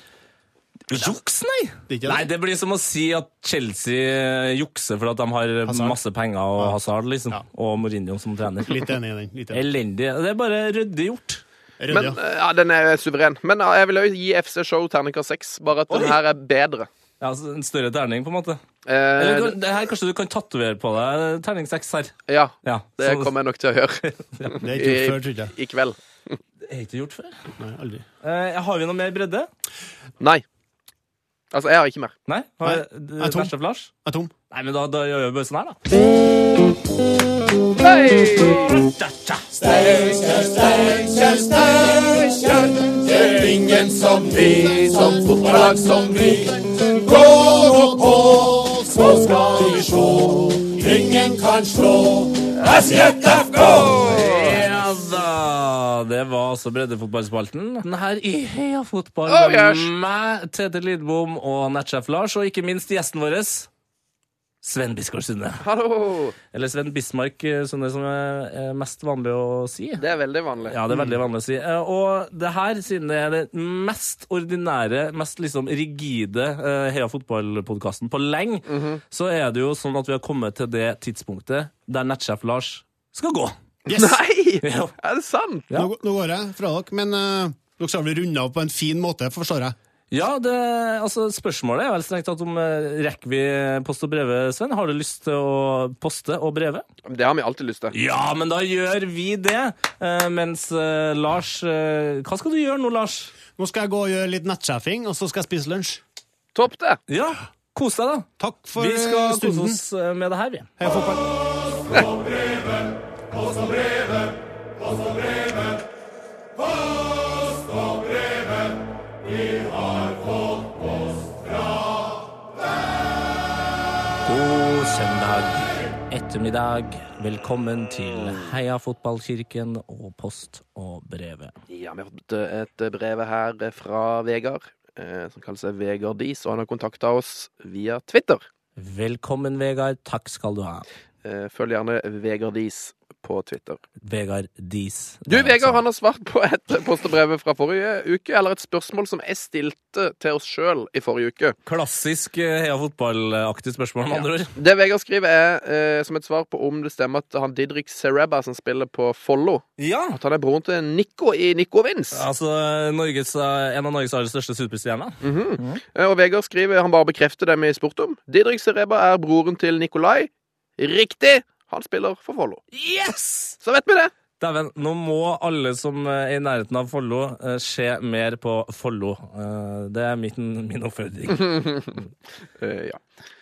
D: Juks, nei!
E: Det er ikke det.
D: Nei, det blir som å si at Chelsea eh, jukser for at de har eh,
E: Hazard.
D: masse penger og Hazard, liksom.
E: Ja.
D: Og Mourinho som trener.
E: Litt enig i den. Litt enig.
D: Elendig. Det er bare ryddig gjort.
E: Rød,
F: men
E: ja.
F: eh, ja, den er suveren. Men ja, jeg vil jo gi FC Show terningkast seks, bare at den her er bedre.
D: Ja, altså, en større terning, på en måte.
F: Eh,
D: Eller, det her, kanskje du kan tatovere på deg terning seks her.
F: ja,
D: Ja,
F: det
D: så-
F: kommer jeg nok til å gjøre
E: Det er ikke gjort før,
F: i,
E: trodde jeg.
F: i kveld.
D: Det er ikke gjort før.
E: Nei, aldri.
D: Eh, har vi noe mer bredde?
F: Nei. Altså, jeg har ikke mer.
D: Nei? Har
E: Nei, jeg er tom.
D: Verste Lars?
E: Jeg er tom.
D: Nei, men da, da gjør vi bare sånn her, da. Ja da! Det var altså breddefotballspalten. Den Her i Heia fotball
F: Oh,
D: med
F: yes.
D: meg, Tete Lidbom og nettsjef Lars, og ikke minst gjesten vår, Sven Biskår Sunde.
F: Hallo!
D: Eller Sven Bismark, eh, som det som er er mest vanlig å si.
F: Det er veldig vanlig.
D: Ja, det er veldig vanlig å si. Eh, Og det her, siden det er det mest ordinære, mest liksom rigide eh, Heia fotballpodkasten på lenge, så er det jo sånn at vi har kommet til det tidspunktet der nettsjef Lars skal gå.
E: Yes.
F: Nei!
D: Ja.
F: Er det sant?
E: Nå, gå- nå går jeg fra dere, men eh, dere skal vel runde av på en fin måte, forstår jeg.
D: Ja, det, altså Spørsmålet er vel strengt tatt om eh, rekker vi post og breve, Sven? Har du lyst til å poste og breve?
F: Det har vi alltid lyst til.
D: Ja, men da gjør vi det! Eh, mens eh, Lars eh, Hva skal du gjøre nå, Lars?
E: Nå skal jeg gå og gjøre litt nettsjefing, og så skal jeg spise lunsj.
F: Topp det!
D: Ja, Kos deg, da.
E: Takk for
D: Vi skal
E: eh,
D: kose
E: stunden.
D: oss eh, med det her, vi.
E: Heia fotball.
D: God søndag ettermiddag. Velkommen til Heia fotballkirken og post og brevet.
F: Ja, vi har fått eh, et brev her fra Vegard, eh, som kaller seg Vegard Dis, og han har kontakta oss via Twitter.
D: Velkommen, Vegard. Takk skal du ha.
F: Eh, Følg gjerne Vegard Dis på Twitter.
D: Vegard Dis.
F: Du, Vegard, han har svart på et postebrev fra forrige uke, eller et spørsmål som jeg stilte til oss sjøl i forrige uke.
D: Klassisk eh, Heia fotballaktig spørsmål, med andre ord.
F: Det Vegard skriver, er eh, som et svar på om det stemmer at han Didrik Sereba, som spiller på Follo,
D: Ja.
F: at han er broren til Nico i Nico Vins.
D: Altså Norges, eh, en av Norges aller største superstjerner.
F: Eh, Og Vegard skriver han bare bekrefter det vi spurte om. Didrik Sereba er broren til Nikolai. Riktig! Han spiller for Follo.
D: Yes!
F: Så vet vi det.
D: Dæven, nå må alle som eh, er i nærheten av Follo, eh, se mer på Follo. Eh, Det er min, min oppfordring.
F: Eh, ja.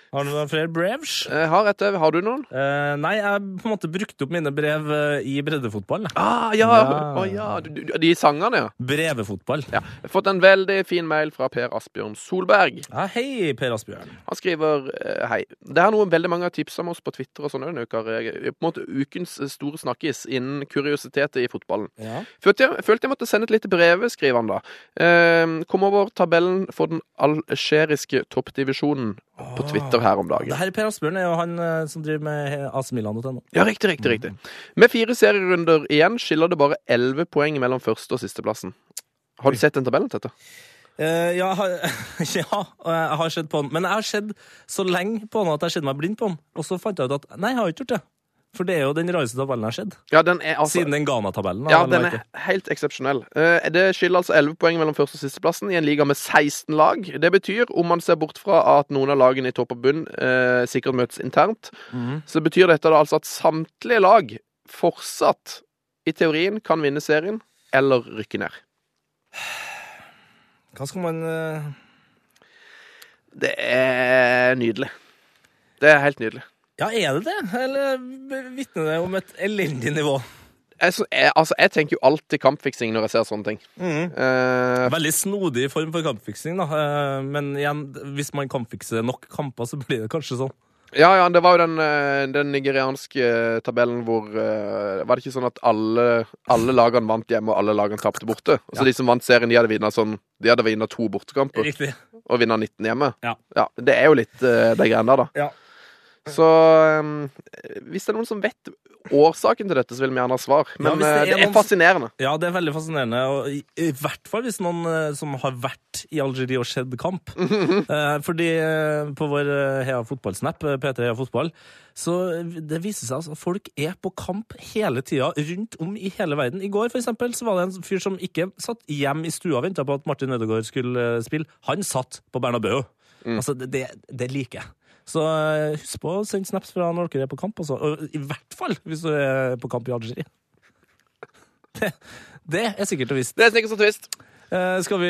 D: Har du noen flere brevs?
F: Eh, har, et, eh, har du noen?
D: Eh, nei, jeg på en måte brukte opp mine brev eh, i breddefotball. jeg.
F: Ah, ja!
D: Ja.
F: Å, ja. Du, du, de sangene, ja.
D: Brevefotball.
F: ja. Jeg har fått en veldig fin mail fra Per Asbjørn Solberg.
D: Ja, hei, Per Asbjørn.
F: Han skriver eh, Hei. Det er noe veldig mange har tipsa om oss på Twitter og sånn denne uka. Eh, På en måte ukens store snakkis innen kuriositeter i fotballen.
D: Ja.
F: Følte jeg, følte jeg måtte sende et lite brev, skriver han da. Eh, kom over tabellen for den algeriske toppdivisjonen på
D: Ah.
F: Twitter her om dagen.
D: Det her Per Asbjørn er jo han eh, som driver med eh, acmilan.no.
F: Ja, riktig, riktig, riktig. Med fire serierunder igjen skiller det bare elleve poeng mellom første- og sisteplassen. Har du sett den tabellen, Tete?
D: Eh, ja, ha- ja, og jeg har sett på han. Men jeg har sett så lenge på han at jeg kjenner meg blind på han. Og så fant jeg ut at nei, jeg har ikke gjort det. For det er jo den rareste tabellen jeg har sett.
F: Ja, den er altså
D: Siden den Ghana-tabellen. av
F: Ja,
D: alle
F: den er
D: merker.
F: helt eksepsjonell. Eh, Det skiller altså 11 poeng mellom første- og sisteplassen i en liga med 16 lag. Det betyr, om man ser bort fra at noen av lagene i topp og bunn eh, sikkert møtes internt, så betyr dette da altså at samtlige lag fortsatt, i teorien, kan vinne serien eller rykke ned.
D: Hva skal man eh,
F: Det er nydelig. Det er helt nydelig.
D: Ja, er det det? Eller vitner det om et elendig nivå?
F: jeg, så- jeg, altså, jeg tenker jo alltid kampfiksing når jeg ser sånne ting. Eh,
A: Veldig snodig form for kampfiksing, da. Eh, Men igjen, hvis man kampfikser nok kamper, så blir det kanskje sånn.
F: ja, ja, det var jo den, eh, den nigerianske tabellen hvor eh, Var det ikke sånn at alle, alle lagene vant hjemme, og alle lagene tapte borte? Altså De som vant serien, de hadde vunnet sånn De hadde vunnet to bortekamper
A: Riktig.
F: og vinner 19 hjemme.
A: Ja.
F: Det er jo litt eh, de greiene der, da.
A: Ja.
F: Så eh, hvis det er noen som vet årsaken til dette, så vil vi gjerne ha svar. Men
A: hvis det
F: eh,
A: er
F: det er,
A: noen-
F: fascinerende.
A: Ja, det er veldig fascinerende. Og i, I hvert fall hvis noen eh, som har vært i Algerie og sett kamp. Eh, fordi eh, på vår eh, Heia fotball-snap, eh, P3 Heia fotball, så det viser seg altså, at folk er på kamp hele tida rundt om i hele verden. I går for eksempel, så var det en fyr som ikke satt hjemme i stua og venta på at Martin Ødegaard skulle eh, spille. Han satt på Bernabeu. Altså, det, det, det liker jeg. Så eh, husk på å sende snaps fra når dere er på kamp. Altså. Og I hvert fall hvis du
D: Eh,
A: er på kamp i Algerie. Det er sikkert og visst.
F: Det er sikkert så trist.
A: Eh, skal vi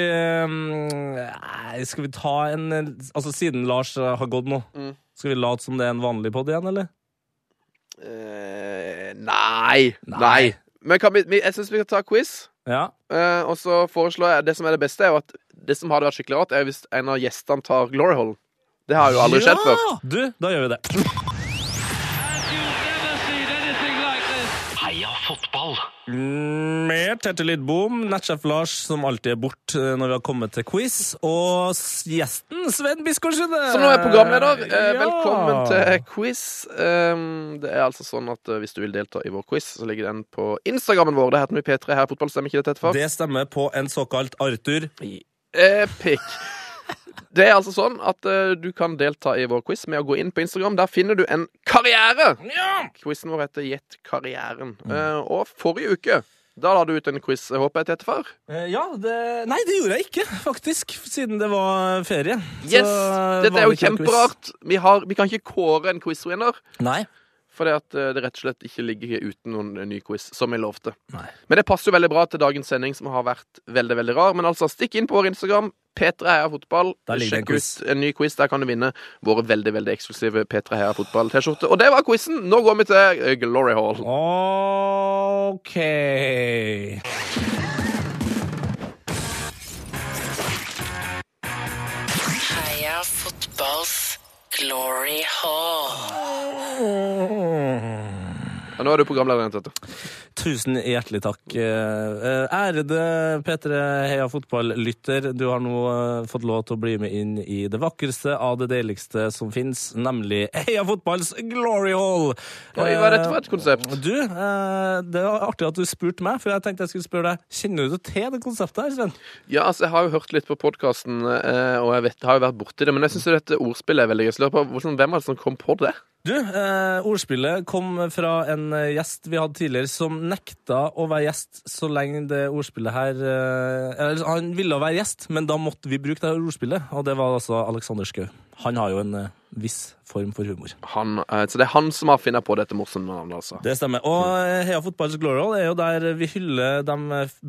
A: mm, nei, Skal vi ta en eh, Altså, siden Lars eh, har gått nå,
F: Mm.
A: skal vi late som det er en vanlig pod igjen, eller?
F: Eh, nei. Nei. Men kan vi, vi- jeg syns vi kan ta quiz.
A: Ja.
F: eh, og så foreslår jeg Det som er det beste, er jo at det som hadde vært skikkelig rart, er hvis en av gjestene tar Glory Hole. Det har jo aldri skjedd før.
A: Du, da gjør vi det.
B: Heia fotball!
A: Mer Tete Lidbom, nettsjef Lars, som alltid er borte når vi har kommet til quiz, og s- gjesten Sven Biskårdsjøde.
F: Som nå er programleder, eh,
A: Ja.
F: velkommen til quiz. Um, det er altså sånn at eh, Hvis du vil delta i vår quiz, så ligger den på Instagrammen vår. Det heter vi P3 her, fotball, stemmer ikke det, Tete? Far?
A: Det stemmer på en såkalt Arthur.
F: Epic. Det er altså sånn at eh, du kan delta i vår quiz med å gå inn på Instagram. Der finner du en karriere! Quizen vår heter Gjett karrieren. Eh, og forrige uke da la du ut en quiz, eh, håper jeg, til etterfør.
A: Eh, Ja, det Nei, det gjorde jeg ikke, faktisk, siden det var ferie. Så eh,
F: Yes! Dette
A: var
F: er jo
A: det ikke noe quiz.
F: kjemperart. Vi, har, vi kan ikke kåre en quiz-winner,
A: Nei.
F: fordi at eh, det rett og slett ikke ligger uten noen eh, ny quiz, som vi lovte.
A: Nei.
F: Men det passer jo veldig bra til dagens sending, som har vært veldig veldig rar. Men altså, stikk inn på vår Instagram. Petra Heia Fotball.
A: Der ligger en
F: Sjekk
A: quiz.
F: ut en ny quiz. Der kan du vinne våre veldig veldig eksklusive Petra Heia Fotball-T-skjorte. Og det var quizen! Nå går vi til eh, Glory Hall.
A: Ok
K: Heia fotballs glory hall.
F: Og nå er du programlederen. Tete.
A: Tusen hjertelig takk. Eh, Ærede P3 Heia Fotball-lytter, du har nå eh, fått lov til å bli med inn i det vakreste av det deiligste som fins, nemlig Heia Fotballs Glory Hall!
F: Oi, hva er dette for et konsept?
A: Du, eh, det var artig at du spurte meg, for jeg tenkte jeg skulle spørre deg Kjenner du til det konseptet her, Sven?
F: Ja, altså, Jeg har jo hørt litt på podkasten, og jeg vet, har jo vært borti det, men jeg syns dette ordspillet er veldig gøy. Så lurer jeg på hvordan- Hvem var det som kom på det?
A: Du, eh, ordspillet kom fra en eh, gjest vi hadde tidligere som nekta å være gjest så lenge det ordspillet her eh, Eller han ville være gjest, men da måtte vi bruke det her ordspillet, og det var altså Alexander Schou. Han har jo en eh, viss form for humor.
F: Han, eh, så det er han som har funnet på dette morsomme navnet, altså.
A: Det stemmer. Og eh, Heia fotballs glory hall er jo der vi hyller de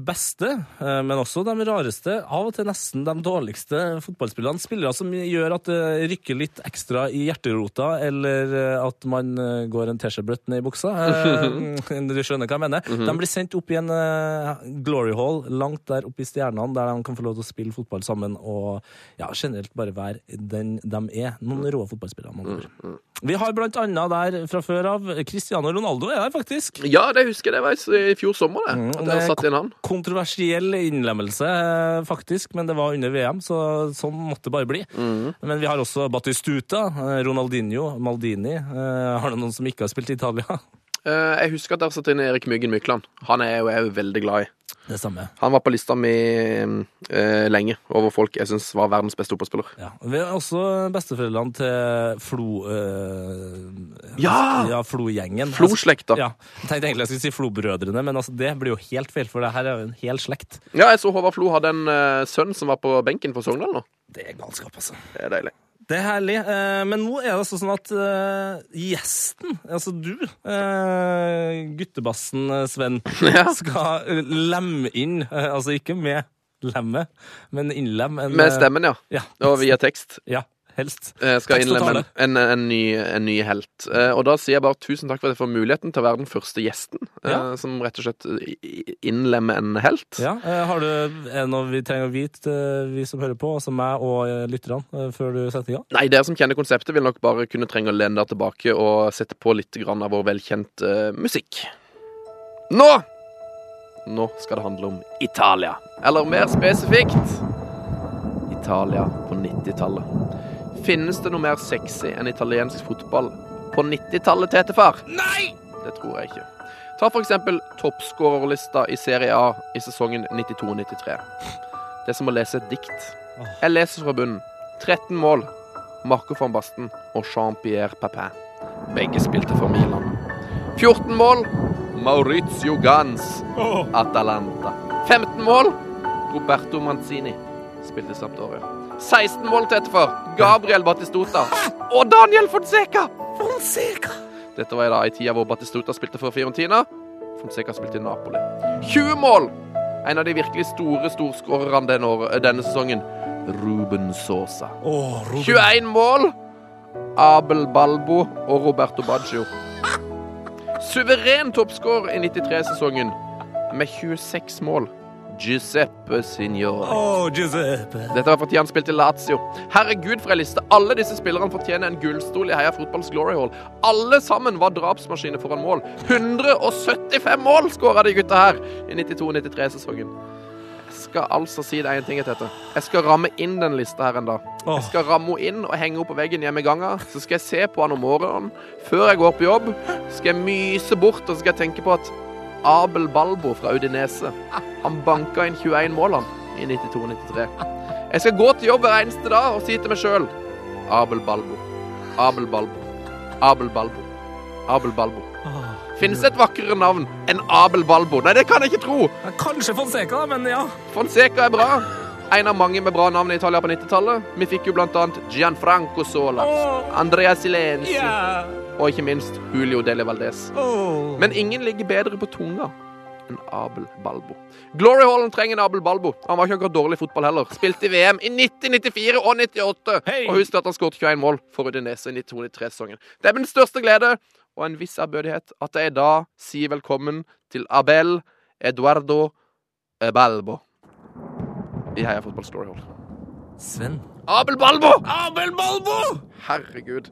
A: beste, eh, men også de rareste, av og til nesten de dårligste fotballspillerne. Spillere som gjør at det rykker litt ekstra i hjerterota, eller eh, at man eh, går en T-skjorte ned i buksa. Eh, Du skjønner hva jeg mener. De blir sendt opp i en eh, glory hall langt der oppe i stjernene, der de kan få lov til å spille fotball sammen og ja, generelt bare være den de er. Noen rå fotballspillere. man tror. Vi har blant annet der fra før av Cristiano Ronaldo er der faktisk.
F: Ja, det husker jeg. Det var i- i fjor sommer, det.
A: Mm,
F: At
A: det
F: jeg
A: er
F: satt inn han.
A: Kontroversiell innlemmelse, eh, faktisk, men det var under VM, så sånn måtte det bare bli.
F: Mhm.
A: Men vi har også Battistuta, eh, Ronaldinho, Maldini. Eh, Har det noen som ikke har spilt i Italia?
F: Eh, jeg husker at der satt inn Erik Myggen Mykland. Han er jo jeg er jo veldig glad i.
A: Det samme.
F: Han var på lista mi eh, lenge over folk jeg syns var verdens beste fotballspiller.
A: Ja. Vi har også besteforeldrene til Flo... eh,
F: Ja!
A: ja Flo-gjengen. Altså,
F: Flo-slekta.
A: Ja. Jeg tenkte egentlig jeg skulle si Flo-brødrene, men altså, det blir jo helt feil, for det her er jo en hel slekt.
F: Ja, jeg så Håvard Flo hadde en eh, sønn som var på benken for Sogndal nå.
A: Det er galskap, altså.
F: Det er deilig.
A: Det er herlig. eh, Men nå er det altså sånn at eh, gjesten, altså du, eh, guttebassen eh, Sven, skal eh, lemme inn, eh, altså ikke med lemmet, men innlemme en
F: Med
A: eh,
F: stemmen, ja.
A: Ja.
F: Og via tekst.
A: ja. Helst.
F: Jeg Eh,
A: Takk
F: skal
A: for
F: innlemme en,
A: tale.
F: en, en, ny, en ny helt. Eh, Og da sier jeg bare tusen takk for at jeg får muligheten til å være den første gjesten eh,
A: Ja.
F: som rett og slett i- i- innlemmer en helt.
A: Ja, eh, Har du er det noe vi trenger å vite, eh, vi som hører på, altså meg og eh, lytterne, eh, før du setter i gang?
F: Nei, dere som kjenner konseptet, vil nok bare kunne trenge å lene dere tilbake og sette på litt grann av vår velkjente eh, musikk. Nå! Nå skal det handle om Italia. Eller mer spesifikt Italia på 90-tallet. Finnes det noe mer sexy enn italiensk fotball på 90-tallet, Tetefar? Nei! Det tror jeg ikke. Ta for eksempel toppskårerlista i Serie A i sesongen 92-93. Det er som å lese et dikt. Jeg leser fra bunnen. 13 mål. Marco van Basten og Jean-Pierre Papin. Begge spilte for Milan. 14 mål. Maurizio Gans. Atalanta. 15 mål. Roberto Manzini spilte Sampdoria. 16 mål til etterfor. Gabriel Batistota. Og Daniel Fonseca! Fonseca! Dette var da i tida hvor Batistota spilte for Fiorentina. Fonseca spilte i Napoli. 20 mål! En av de virkelig store storskårerne denne, år- denne sesongen. Ruben Sosa. 21 mål! Abel Balbo og Roberto Baggio. Suveren toppskårer i 93-sesongen med 26 mål. Giuseppe Signore. Dette var fordi han spilte i Lazio. Herregud, for ei liste. Alle disse spillerne fortjener en gullstol i Heia Fotballs Glory Hall. Alle sammen var drapsmaskiner foran mål. 175 mål skåra de gutta her i 92-93-sesongen. Jeg skal altså si deg en ting, Tete. Jeg skal ramme inn den lista her en dag. Jeg skal ramme henne inn og henge opp på veggen hjemme i ganga. Så skal jeg se på han om morgenen før jeg går på jobb. Så skal jeg myse bort og så skal jeg tenke på at Abel Balbo fra Udinese Han banka inn 21 mål, han, i 92-93. Jeg skal gå til jobb hver eneste dag og si til meg sjøl Abel Balbo. Abel Balbo. Abel Balbo. Abel Balbo. Finnes det et vakrere navn enn Abel Balbo? Nei, det kan jeg ikke tro!
A: Kanskje Fonseca, men ja.
F: Fonseca er bra. En av mange med bra navn i Italia på 90-tallet. Vi fikk jo blant annet Gianfranco Sola, Andrea Silenzi og ikke minst Julio Dele Valdez. Men ingen ligger bedre på tunga enn Abel Balbo. Glory Hallen trenger en Abel Balbo. Han var ikke akkurat dårlig i fotball heller. Spilte i VM i 90, 94 og 98. Og husk at han skåret 21 mål for Udinese i 92-93-sesongen. Det er min største glede og en viss ærbødighet at jeg i dag sier velkommen til Abel Eduardo Balbo i Heia Fotballs Glory Hall.
A: Sven.
F: Abel Balbo!
A: Abel Balbo!
F: Herregud.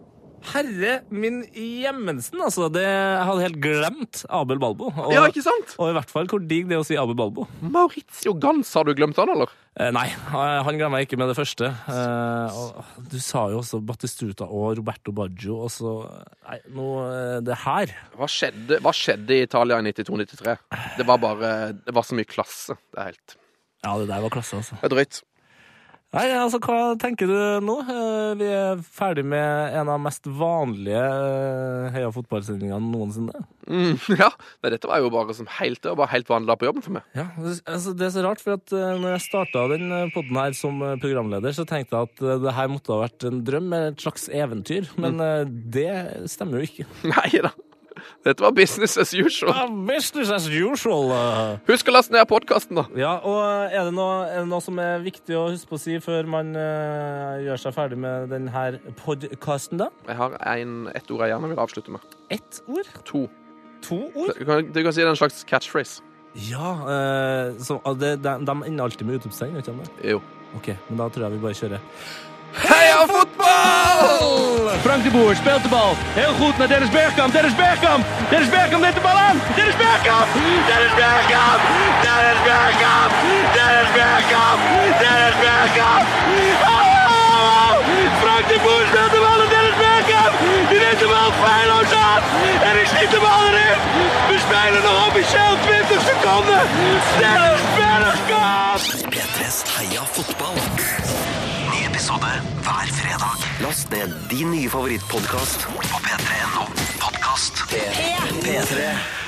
A: Herre min Gjemensen, altså. Det, jeg hadde helt glemt Abel Balbo. Og,
F: Ja, ikke sant?
A: og i hvert fall hvor digg det er å si Abel Balbo.
F: Maurizio Gans, har du glemt han, eller?
A: Eh, nei, eh, han glemmer jeg ikke med det første. Eh, og du sa jo også Battistuta og Roberto Baggio, og så Nei, nå eh, Det her
F: Hva skjedde, hva skjedde i Italia i 92-93? Det var bare Det var så mye klasse. Det er helt
A: Ja, det der var klasse, altså.
F: Det er drøyt.
A: Nei, altså, hva tenker du nå? Eh, Vi er ferdig med en av de mest vanlige eh, heia fotballsendingene noensinne.
F: Mm, ja. Nei, dette var jo bare som helt, det var bare helt vanlig da på jobben for meg.
A: Ja, altså, det er så rart, for at eh, når jeg starta den eh, podden her som eh, programleder, så tenkte jeg at eh, det her måtte ha vært en drøm eller et slags eventyr, men eh, det stemmer jo ikke.
F: Nei da. Dette var business as usual.
A: Business as usual. eh.
F: Husk å laste ned podkasten, da.
A: Ja, og eh, er det, noe, er det noe som er viktig å huske på å si før man eh, gjør seg ferdig med denne podkasten, da?
F: Jeg har en, ett ord jeg gjerne vil avslutte med.
A: Ett ord?
F: To.
A: To ord?
F: Du kan, du kan si det er en slags catchphrase.
A: Ja, eh, så, ah, det, de, de ender alltid med utropstegn, vet du om det?
F: Jo.
A: Ok, men da tror jeg vi bare kjører.
F: Heia fotball!
L: Frank de Boer speelt de bal. Heel goed naar Dennis Bergkamp. Dennis Bergkamp. Dennis Bergkamp neemt de bal aan. Dennis Bergkamp. Dennis Bergkamp. Dennis Bergkamp. Dennis Bergkamp. Dennis Bergkamp. Oh! Frank de Boer speelt de bal aan Dennis Bergkamp. Die neemt de bal feilloos aan. En ik schiet de bal erin. We spelen nog officieel 20 seconden. Dennis Bergkamp.
M: P3s Heia fotball. Ny episode hver fredag. Last ned din nye favorittpodkast på p3.no podkast. P3. P3.